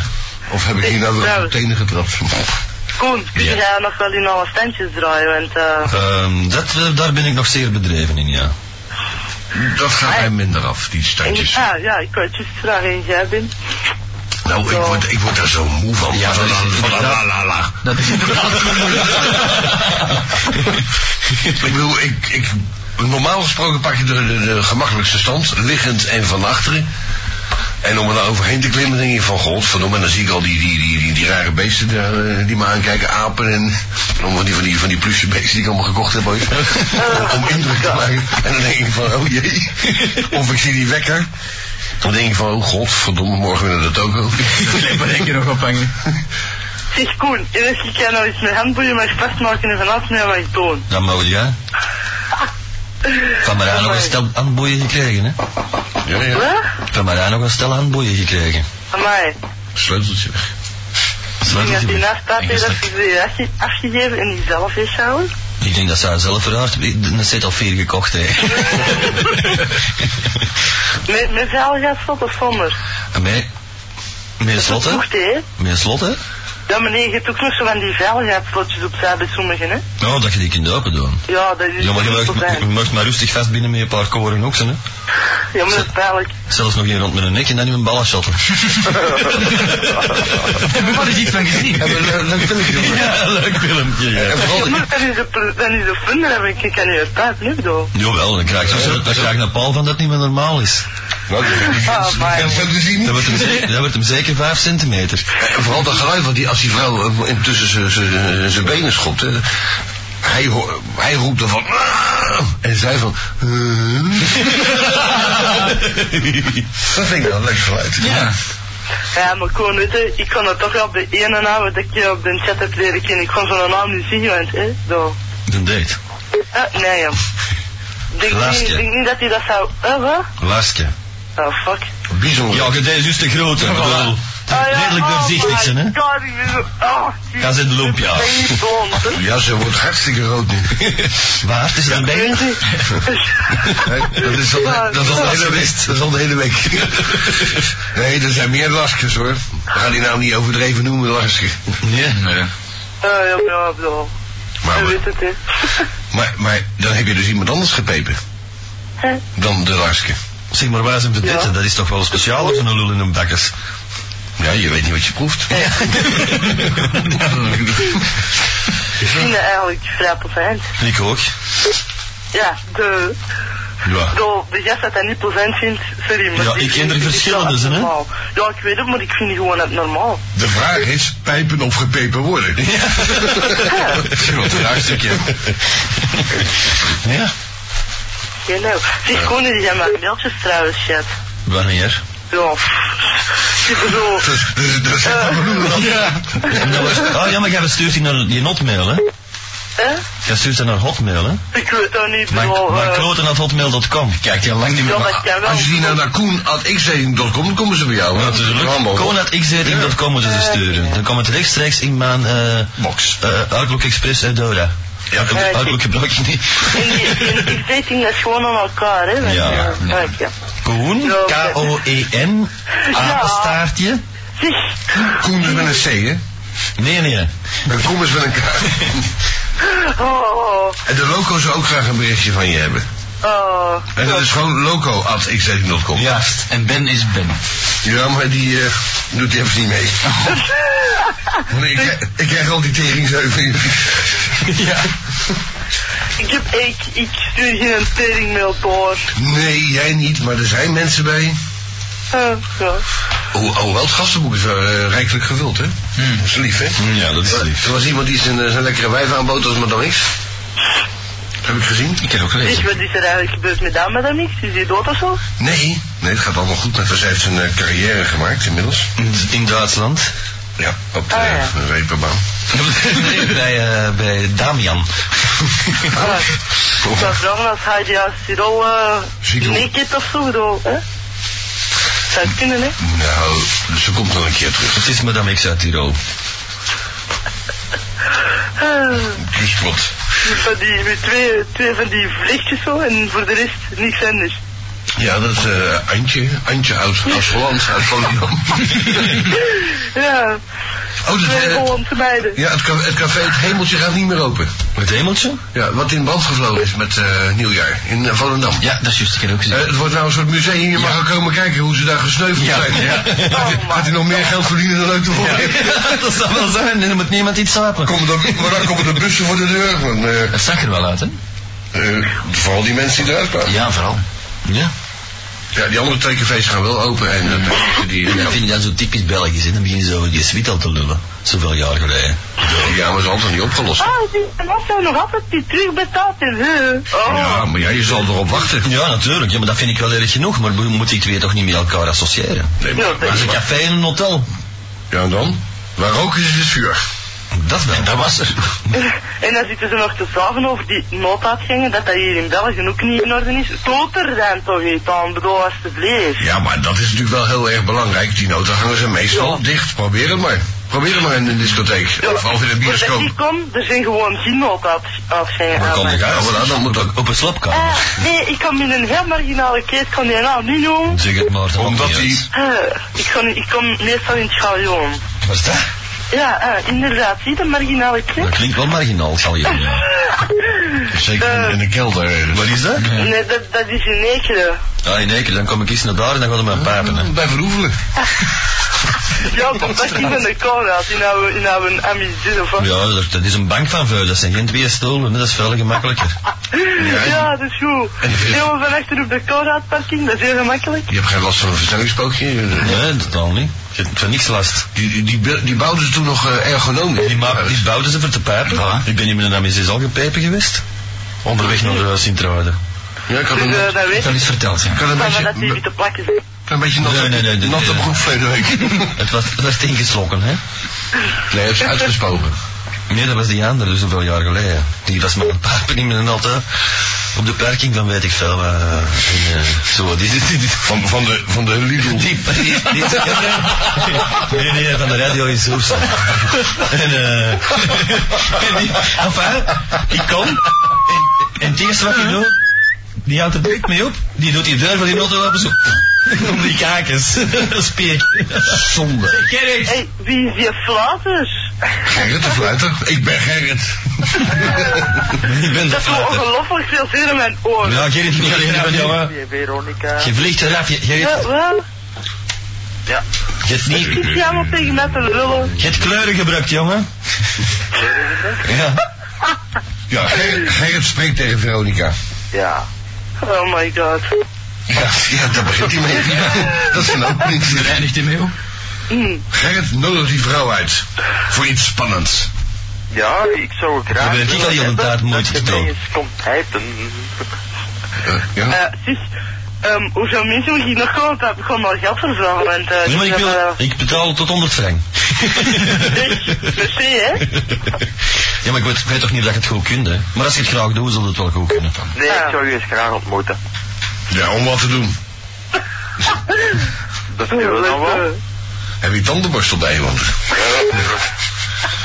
Of heb ik hier nou weer op de tenen getrapt? Koen, kun jij Ja. Dus nog wel in alle standjes draaien? Want, eh, Ehm, dat, eh, daar ben ik nog zeer bedreven in, ja. Dat gaat mij minder af, die standjes. ah, ja, ik kan het juist vragen en jij bent. Nou, ik word, ik word daar zo moe van. Ja, dat is het. Van la la la la. Dat is inderdaad ik bedoel, ik, ik, normaal gesproken pak je de, de, de gemakkelijkste stand, liggend en van achteren. En om er nou overheen te klimmen, denk je van godverdomme, en dan zie ik al die, die, die, die, die rare beesten daar, eh, die me aankijken, apen en allemaal van die, van die, van die plusje beesten die ik allemaal gekocht heb ooit. om indruk te maken. En dan denk ik van, oh jee. Of ik zie die wekker. Dan denk ik van, oh godverdomme, morgen weer naar de toko. Blijf maar één keer nog ophangen. Zeg Koen, en als ik jou nou eens mijn handboeien mag vastmaken en vanaf mij mag doen. Dat mag jij. Van mij nog een stel handboeien gekregen, hè? Ja, ja. Wat? Van mij nog een stel handboeien gekregen. Amai. Sleuteltje weg. Ik denk dat die naast staat heeft dat Ingestopt. ze ze afge- afgegeven en die zelf heeft gehouden. Ik denk dat ze haar zelf verhaard heeft. Een set al vier gekocht, hè. Met, met veiligheidsslot of zonder? En mij... Meer slot, hè? Mocht hè? Meer slot, hè? Ja meneer, je hebt ook nog zo van die veiligheidsslotjes opzij bij sommigen hè? Nou, dat je die kunt open doen. Ja, dat is Ja, maar je zo mag, je fijn. mag maar rustig vast binnen met een paar koren oksen, hè? Ja, maar dat is pijnlijk. Zelfs nog één rond met een nek en dan in een ballen shotten. Heb ik wel eens iets van gezien? Leuk filmpje. ja, leuk filmpje, ja. Ja, maar dat is de, dat is de vinder, hè, want ik kan niet uit tijd nu bedoel. Jawel, dan krijg je, dan krijg je een paal van dat niet meer normaal is. Ah, maar. En zo te zien. Dat wordt hem, ze- dat wordt hem zeker 5 centimeter. En Eh, vooral dat geluid, want die, als die vrouw eh, intussen zijn- zijn- zijn benen schopt, hè, hij, ho- hij roept dan van... "Ah!" En zij van... "Huh?" dat vind ik wel een leuk geluid. Ja. Ja, maar Koen, weet je, ik kan het toch wel bij ene naam dat ik je op de chat heb leren kennen. Ik kon zo'n naam niet zien, want hè, door. De date. Ah, nee, ja. Ik denk, niet, Laatste. ik denk niet dat hij dat zou... eh, wat? Larsje. Oh, fuck. Bijzonder. Ja, je is dus te groot. hè. Ik bedoel, redelijk doorzichtig zijn, hè? God, ik ben zo... Oh, Ga ze in de loempje af. Ja, ze wordt hartstikke rood nu. Waar? Het is er een bengel? Nee, dat is al, dat is al de hele week. Dat is al de hele week. Nee, er zijn meer laskers hoor. We gaan die nou niet overdreven noemen, lasker. Ja. Eh, ja, ja, bedoel. Maar, Je weet het, hè. maar, maar dan heb je dus iemand anders gepepen Hè? dan de lasker. Zeg maar, waar zijn we dit? Dat is toch wel speciaal voor een lul in een bakkers? Ja, je weet niet wat je proeft. Ik vind het eigenlijk vrij plezant. Ik ook. Ja, de... Ja. Bedoel, de gast dat hij niet plezant vindt, sorry, maar... Ja, die ik ken er vind het verschillende, wel hè? abnormaal. Ja, ik weet het, maar ik vind die gewoon abnormaal. De vraag is, pijpen of gepepen worden? Ja. Wat een hartstukje. Ja. Ja, nou. Zeg, Koen, die zijn maar mailtjes trouwens, shit. Wanneer? Ja, pff. Ik bedoel... Dus, dus, dus, Eh. Ja. Dat was, oh ja, maar jij stuurt die naar je hotmail, hè? Hè? Jij stuurt dat naar hotmail, hè? Eh? Ik weet dat niet, Maar, bedoel... maar eh, kloten at hotmail.com. Kijk, je lang niet ja, dat kan wel. Als je die nou naar Koen at xzeding.com, dan komen ze bij jou. hè? Allemaal. Konadxzetting.com moeten ze sturen. Dan komt het rechtstreeks in mijn eh Box. eh, Outlook Express uit Dora. Ja, Ja, ik- Outlook gebruik je niet. En die, en die dating is gewoon aan elkaar, hè? eh, Ja, ja. Kijk, ja. Koen, Ja, oké. K-O-E-N, apenstaartje. Zeg, Koen is met een C, hè? Nee, nee. En Koen is met een K. oh, oh, En de loco zou ook graag een berichtje van je hebben. oh. En dat is gewoon loco at xzeding.com. Ja. En Ben is Ben. Ja, maar die eh, doet die even niet mee. Nee, ik, krijg- ik krijg al die teringzuiving. ja. Ik, heb, ik, ik stuur geen teringmail door. Nee, jij niet, maar er zijn mensen bij. Eh, ja. Oh, oh wel, het gastenboek is wel eh, rijkelijk gevuld, hè? Dat is lief, hè? Ja, dat is lief. Er was iemand die zijn, eh, zijn lekkere wijf aanbood als Madame X. Dat heb ik gezien. Ik heb ook Zeg, gelezen. Dus wat is er eigenlijk gebeurd met dat madame niks? Is die dood of zo? Nee. Nee, het gaat allemaal goed met haar. Ze heeft een eh, carrière gemaakt inmiddels. In- In Duitsland. Ja, op de Ah, eh, ja. reeperbaan. Nee, bij, eh, bij Damian. Ah, Ik zou vragen als hij die als hier al eh, Ziek, hoor. naked of zo, bedoel, hè? Zou het kunnen, hè? Nou, ze komt wel een keer terug. Het is Madame X uit Tirol. Eh, Dus wat? met van die, met twee, twee van die vlechtjes zo en voor de rest niks anders. Ja, dat is eh, Antje. Antje uit Asseland, uit Volendam. Ja, Oh, dat, twee eh, Hollandse meiden. ja, het, ca- het café Het Hemeltje gaat niet meer open. Het hemeltje? Ja, wat in brand gevlogen is met eh, nieuwjaar in eh, Volendam. Ja, dat is juist. Ik heb ook Eh, gezien. het wordt nou een soort museum. Je mag ook komen kijken hoe ze daar gesneuveld zijn. Ja. Oh, man. Had hij nog meer geld verdienen dan leuk te worden. dat zou wel zijn. Dan moet niemand iets slapen. Komen de, maar dan komen de bussen voor de deur. want, eh, Het zag er wel uit, hè? eh, vooral die mensen die eruit kwamen. Ja, vooral. Ja. Ja, die andere twee cafés gaan wel open. En eh, die, En dat vind je dan zo typisch Belgisch, hè? Dan beginnen ze over die suite al te lullen. Zoveel jaar geleden. ja, maar ze hadden niet opgelost. Ah, die was zijn nog altijd die terugbetaald en hè. Oh, Ja, maar ja, je zal erop wachten. Ja, natuurlijk. Ja, maar dat vind ik wel erg genoeg. Maar we moeten die twee toch niet met elkaar associëren? Nee, maar, Ja, maar- Dat is een café en een hotel. ja, en dan? Waar rook is, is vuur. Dat wel. dat was er. En dan zitten ze nog te zagen over die nooduitgangen, dat dat hier in België ook niet in orde is. Toot er dan toch iets aan, bedoel alsjeblieft. Ja, maar dat is natuurlijk wel heel erg belangrijk. Die noten hangen ze meestal Ja. dicht. Probeer het maar. Probeer het maar in de discotheek. Of, of in de Want als bioscoop. ik kom, er zijn gewoon geen nooduitgangen Maar aan kom mij. ik Ja, maar dan- dan moet dat... Op een slapkamer. Ah, nee, ik kom in een heel marginale keet, kan die naam niet noemen. Zeg het maar. dat maakt Omdat niet die- uit. Eh, ik, kom, ik kom meestal in het schaljoen. Wat is dat? Ja, eh, inderdaad, zie je de marginale Dat keet? klinkt wel marginaal, zal je ja. Zeker in- in de kelder. eh, Wat is dat? Nee, dat, dat is in Ekeren. Ah, in één keer. Dan kom ik eens naar daar en dan gaan we mijn pijpen, hè. Bij Verhoevelen. Ja, dat is in de Conrad, in oude, in oude Amizide of wat. Ja, dat, dat is een bank van vuil. Dat zijn geen twee stoelen. hè. Dat is veel gemakkelijker. Ja, dat is goed. En de vis? Helemaal van achter op de Conradparking, dat is heel gemakkelijk. Je hebt geen last van een versnellingspookje. Nee, totaal niet. Je hebt van niks last. Die, die, be- die bouwden ze toen nog eh, ergonomisch. Die, ma- die bouwden ze voor te pijpen. Ik ben hier met een AMC al gepijpen geweest. Onderweg naar de Sint-Truiden. Ja, ik had Dus een, eh, dat weet Dat ik is verteld, ja. ik had een van dat die beetje, witte plakjes zijn. een beetje natte, Nee, nee, nee, nee, natte nee. broek verleden week. Het was, het werd ingeslokken, hè? Nee, hij heeft ze uitgespogen. Nee, dat was die andere, dus zoveel jaar geleden. Die was met een pijpen in mijn natte. Op de parking van weet ik veel waar. eh, in, eh, zo, die, die, die- Van, van, de, van de Lidl. die, die, die- nee, nee, van de radio in Soest. En, eh, en die, enfin, ik kom. En, en het eerste wat ik doe, die houdt er direct mee op. Die doet die deur van die auto open zo. Om die kakens. Speek. Zonde. Hé, hey, wie is dus. die flaters? Gerrit de Fluiter. Ik ben Gerrit. Ik ben de Dat doet fluiter. ongelooflijk veel zin in mijn oren. Ja, Gerrit, niet alleen van jongen. Die Veronica. Je vliegt eraf. Je, je, Ja, wel. je hebt niet... Ik zit allemaal tegen mij te lullen. Je hebt kleuren gebruikt, jongen. Ja. Ja, Gerrit, Gerrit spreekt tegen Veronica. Ja. Oh my god. Ja, ja daar begint hij mee. Dat is een opening. Daar eindigt hij mee op. Hm. Gerrit nodig die vrouw uit. Voor iets spannends. Ja, ik zou graag... Dan ben ik al die op de taart moeite Dat je te mij doen. eens komt helpen. Eh, ja? Eh, sis, ehm, hoeveel mensen moet ik nog komen? Ik gewoon maar geld verzamelen. Want, eh, Nee, maar ik, ben, wil, eh, ik betaal tot 100 frank. dus, zie hè? Ja, maar ik weet, ik weet toch niet dat je het goed kunt, hè? Maar als je het graag doet, zal het wel goed kunnen. Nee, Ja. ik zou u eens graag ontmoeten. ja, om wat te doen. Dat Oh, kunnen we dan eh, wel. Heb je tandenborstel bij je? want-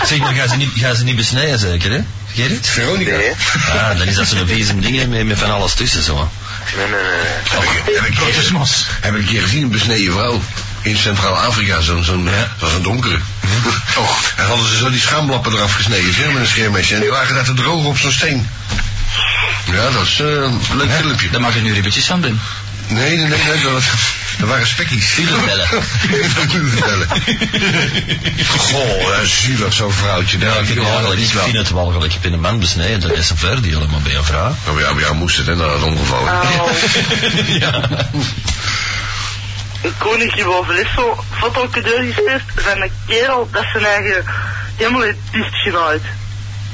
Zeg maar, ga ze niet, ga ze niet besnijden, zeker, hè? Gerrit? Veronica. Nee. Ah, dan is dat zo'n vieze ding met, met van alles tussen, zo. Nee, nee, nee. Heb nee. ik, heb, ik een keer, heb ik een keer gezien, een besneden vrouw. In Centraal-Afrika, zo'n, zo'n, Ja. Hm. dat was een donkere. Oh, en hadden ze zo die schaamlappen eraf gesneden, zeg, met een scheermesje. En die lagen daar te droog op zo'n steen. Ja, dat is eh, een leuk filmpje. Daar mag je nu ribbetjes van doen. Nee, nee, nee, nee, dat, was- dat waren spekkies. Filebellen. Filebellen. Goh, eh, zielig zo'n vrouwtje. Ja, Ik vind, het walgelijk. ik vind het walgelijk. Ik ben een man besneden, dat is een voordeel, maar bij een vrouw. Oh, ja, bij jou moest het, hè, na dat ongeval. Au. ja. Een koninkje boven is zo fotocadeur gestuurd van een kerel dat zijn eigen helemaal in het dicht genaaid.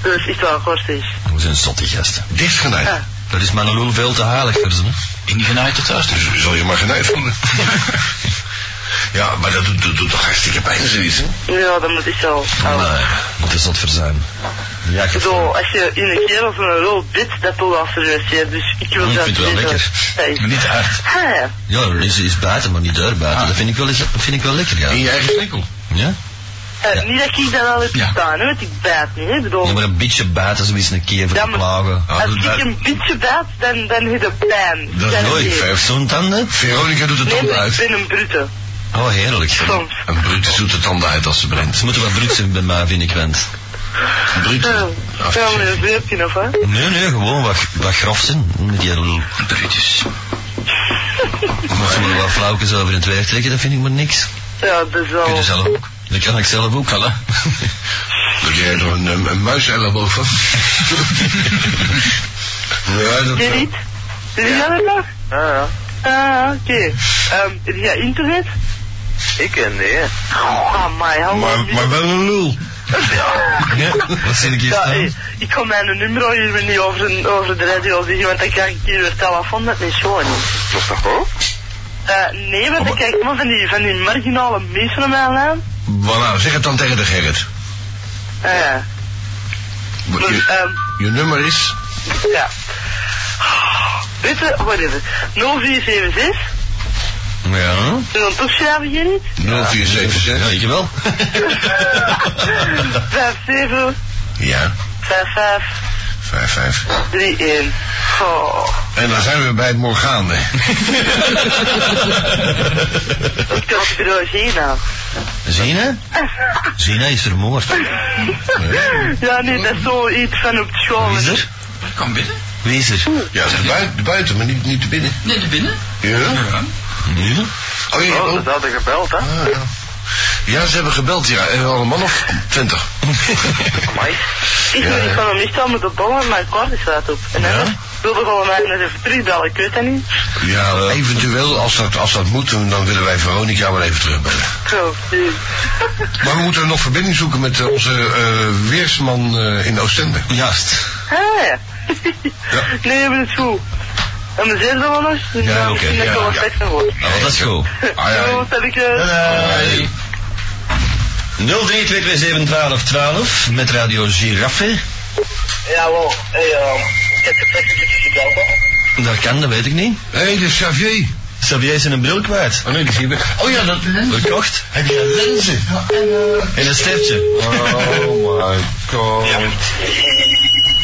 Dat is echt wel kortig. We zijn zotte gasten. Dichtgenaaid. Ja. Dat is mijn lul veel te heilig voor ze, hè? Ingenaaid tot thuis. Dus zal je maar genaaid worden. ja, maar dat doet, dat doet toch hartstikke pijn, zoiets. hè? Ah. Ja, dat moet ik wel. Au. Nee, moet er zot voor zijn. Ja, ik Ik bedoel, als je in een kerel zo'n rol bidt, dat doet wel serieus zeer. Dus ik wil Mm, Ik dat vind het wel niet, lekker. eh, hey. Maar niet te hard. Ha, Ja, dat is, is buiten, maar niet daar buiten. Dat vind ik wel, dat vind ik wel lekker, ja. Ah. In je eigen winkel. Ja? eh, Niet dat ik dat al heb Ja. gedaan, hè, want ik bijt niet. hè. Ik bedoel, Ja, maar een beetje buiten, zoiets een keer Oh. Ja, maar- verklagen. Ah, als ik een beetje bijt, dan, dan heb ik pijn. Dat is Dan Nooit, heb ik- vijf zo'n tanden. Veronica doet de Nee, tanden maar ik uit. ben een brute. Oh, heerlijk. Soms. Een Brutus doet de tanden uit als ze brengt. Ze moeten wat bruut zijn bij mij, vind ik, want... Brutus. Ja, Ah, ja, maar een zeepje of hè? Nee, nee, gewoon wat, wat grof zijn. Met die lul. Ribbetjes. Als ze maar wat flauwkes over het weer trekken, dat vind ik maar niks. Ja, dat is wel. Kun je zelf ook. Dat kan ik zelf ook, voilà. Dat jij er een, een, een muiselleboog van. ja, dat... Ken je niet? Ken je dat nog? Ja, ja. Ah, oké. Ehm, Heb jij internet? Ik en nee. Ah, maar hallo. Maar, maar wel een lul. eh. Ja, wat zit ik hier Ja, staan? hé, ik kan mijn nummer hier weer niet over, de- over de radio zeggen, want dan krijg ik hier weer telefoon, dat is gewoon niet. Dat toch ook? Eh, nee, want dan krijg ik maar van die, van die marginale mensen naar mijn naam. Maar nou, zeg het dan tegen de Gerrit. Ah, ja. Dus, Je, ehm, je nummer is... ja. Weet je, wat is het? 0476? Ja. Doe dan toeschrijven, Gerrit? Ja, 0476. ik wel. 57 Ja, 55 5, 5. 31. Oh. En dan zijn we bij het Morgane. Ik kan het bureau zien nou. Zina? Zina is vermoord. Ja, nee, dat is zoiets van op school. Wie is er? Kom binnen. Wie is er? Ja, de buiten, de buiten maar niet, niet de binnen. Nee, naar binnen. Ja? Ja. Nu? Oh, ja, Oh, oh. dat hadden gebeld, hè? Ah, ja. ja, ze hebben gebeld, ja. En wel een man of twintig. Amai. Ik Ja, wil ja. niet van hem niet staan met de ballen, maar ik kwart is wat op. En Ja? dan wilde gewoon mij net even terugbellen, ik weet dat niet. Ja, eventueel, als dat, als dat moet, dan willen wij Veronica wel even terugbellen. Zo, dus. Maar we moeten nog verbinding zoeken met eh, onze eh, weersman eh, in Oostende. Juist. Ah, ja. Ja. Nee, maar het is goed. En we zijn er wel nog. Ja, Nou, oké, misschien dat ik ja, er wel ja. tijd van word. Oh, dat is goed. Ah, ja. Zo, dat ik... eh, 0322711212 met Radio Giraffe. Jawel, hey, ehm, Dat kan, dat weet ik niet. Hé, hey, de Xavier. Xavier is in een bril kwijt. Oh nee, die ging weg. Oh ja, dat Verkocht. Heb je lenzen? En een stepje. Oh my god.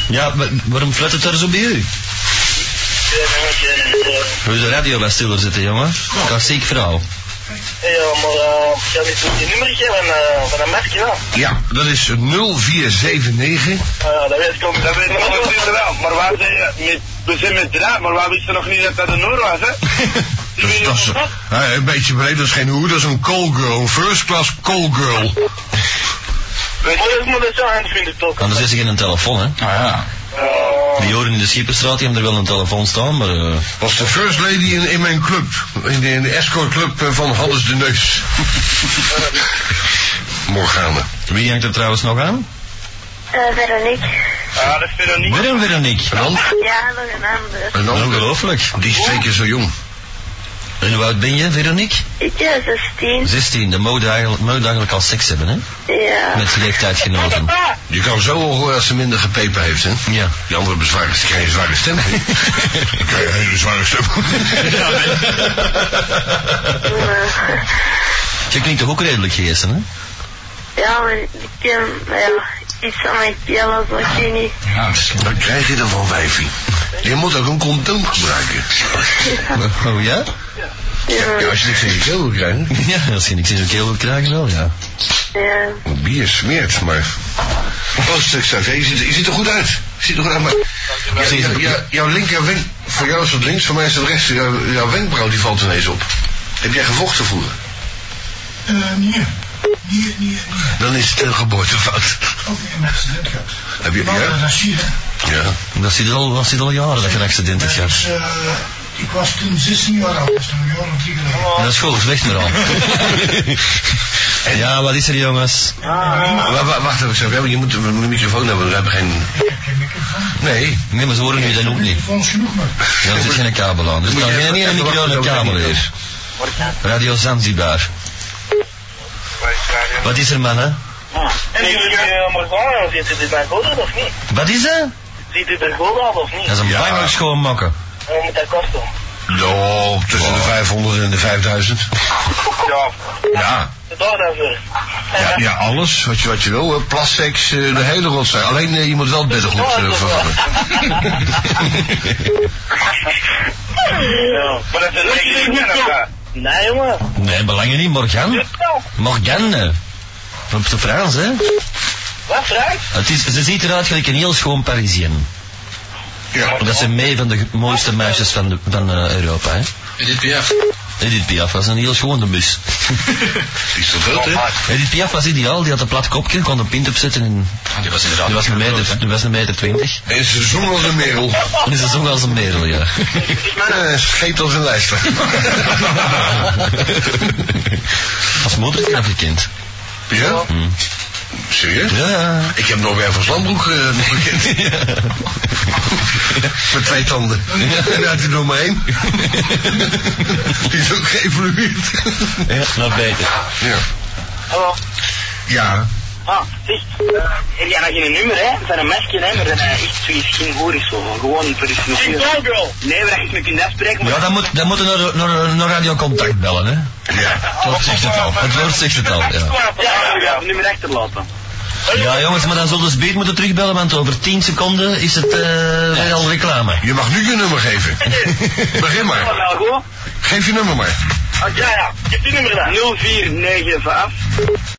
Ja, maar waarom fluttert er zo bij u? Hoe de radio bij stiller zitten, jongen. Klassiek verhaal. Ja, maar eh, ja, dit is je nummer geven van, eh, van een merkje, ja. Ja, dat is 0479. Eh, dat weet ik ook. Dat weet ik nog niet wel. Maar waar zijn je met, we zijn met draad, maar waar wisten nog niet dat dat een Noor was, hè? Dat is, dat is- hè, een beetje breed, dat is geen hoe, dat is een call girl. Een first class call girl. Weet je, ik moet dat zo aan vinden, toch? Anders is er geen telefoon, hè? Ah ja. Die horen in de Schipperstraat, die hebben er wel een telefoon staan, maar... eh, Was de first lady in, in mijn club. In de, in de escort club eh, van Hannes de Neus. Morgane. Wie hangt er trouwens nog aan? Eh, Veronique. Ah, Ja, dat is Veronique. Weer een Veronique. Ja, nog een ander. Ongelooflijk. Die is twee keer zo jong. En hoe oud ben je, Veronique? Ik ben 16. 16. Dan moet je eigenlijk, moet je eigenlijk al seks hebben, hè? Ja. Met leeftijdgenoten. Je kan zo al horen als ze minder gepepen heeft, hè? Ja. Die andere bezwaar is, krijg je zware stem. hè? Dan krijg je een hele zware stem. Maar, Je klinkt toch ook redelijk geesten, hè? ja, maar ik ken ja, iets aan mijn keel als wat je niet. Ja, misschien. Dan krijg je ervan wijfie. Je moet ook een condoom gebruiken. Oh ja? Ja, Ja, als je niks in je keel wil krijgen. Ja, als je niks in zo'n keel wilt krijgen, wel, ja. ja. Bier smeert, maar... Proost, Xavier. Je ziet, je ziet er goed uit. Je ziet er goed uit, maar... Ja, ja, ja, jouw linker wenk... Voor jou is het links, voor mij is het rechts. Jouw, jouw wenkbrauw die valt ineens op. Heb jij gevochten vroeger? Dan is het een geboortefout. Heb je... Ja? Ja. Dat zit al, dat zit al jaren dat je een accident hebt gehad. Ik was toen 16 jaar oud, dus toen een jaar of drie geleden. En dat school is weg maar al. Ja, wat is er, jongens? Wa- wa- Wacht even, Xavier. Je moet een microfoon hebben, we hebben geen... Nee. Nee, maar ze horen nu dan ook niet. Volgens genoeg maar. Ja, er zit geen kabel aan. Dus Moet dan je geen even- ene even micro en wachten, een dat kabel weet ik hier. Radio Zanzibar. Wat is er, mannen? Ah. En jullie uh, Morgana, ziet u dit bij Godel of niet? Wat is dat? Ziet u bij Godel of Dat is niet? een bangelijk schoonmakken. Hoe moet dat kosten? Ja, tussen de 500 en de 5000. Ja, Ja. de dag daarvoor. Ja, ja, alles, wat je, wat je wil. hè. Plastics, eh, de hele rotzooi. Alleen eh, je moet wel het beddengoed eh, vervangen. Ja. Maar dat is een lekker Nee, jongen. Nee, belangen niet, Morgan. Morgan. eh. Op de Frans, hè? Wat, Frank? Het is, ze ziet eruit gelijk een heel schoon Parisien. Ja. Dat zijn mee van de mooiste meisjes van, de, van eh, Europa, hè? Edith Piaf. Edith Piaf was een heel schone bus. Die is vervuld, Oh, hè? Edith Piaf was ideaal, die had een plat kopje, kon een pint opzetten en Die was inderdaad... die was een meter, die was een meter twintig. En ze zoen als een merel. En ze zong als een merel, ja. Eh, scheet als een lijster. Als moeder knap gekend. ja? Serieus? Hm. Ja. Ik heb nog weer van Slambroek eh, nog gekend. Met twee tanden. En uit die door me heen. die is ook geëvolueerd. Ja, nog beter. ja. Hallo. Ja. Ah, zeg. eh, Heb jij nog geen nummer, hè? Van een mesje, hè? Maar dat is echt zoiets geen hoor is, zo. Gewoon voor de snufje. Een girl. Nee, waar je me kunt afspreken, maar... Ja, dan moet, dan moet je naar, naar, naar Radio Contact bellen, hè. Ja. Het woord zegt het al. Het woord zegt het al, ja. Ja, ja, nummer achterlaten. Ja, jongens, maar dan zullen ze beet moeten terugbellen, want over 10 seconden is het eh weer al reclame. Je mag nu je nummer geven. Begin maar. Wel goed. Geef je nummer maar. Ah, ja, ja. Je hebt die nummer dan. 0495.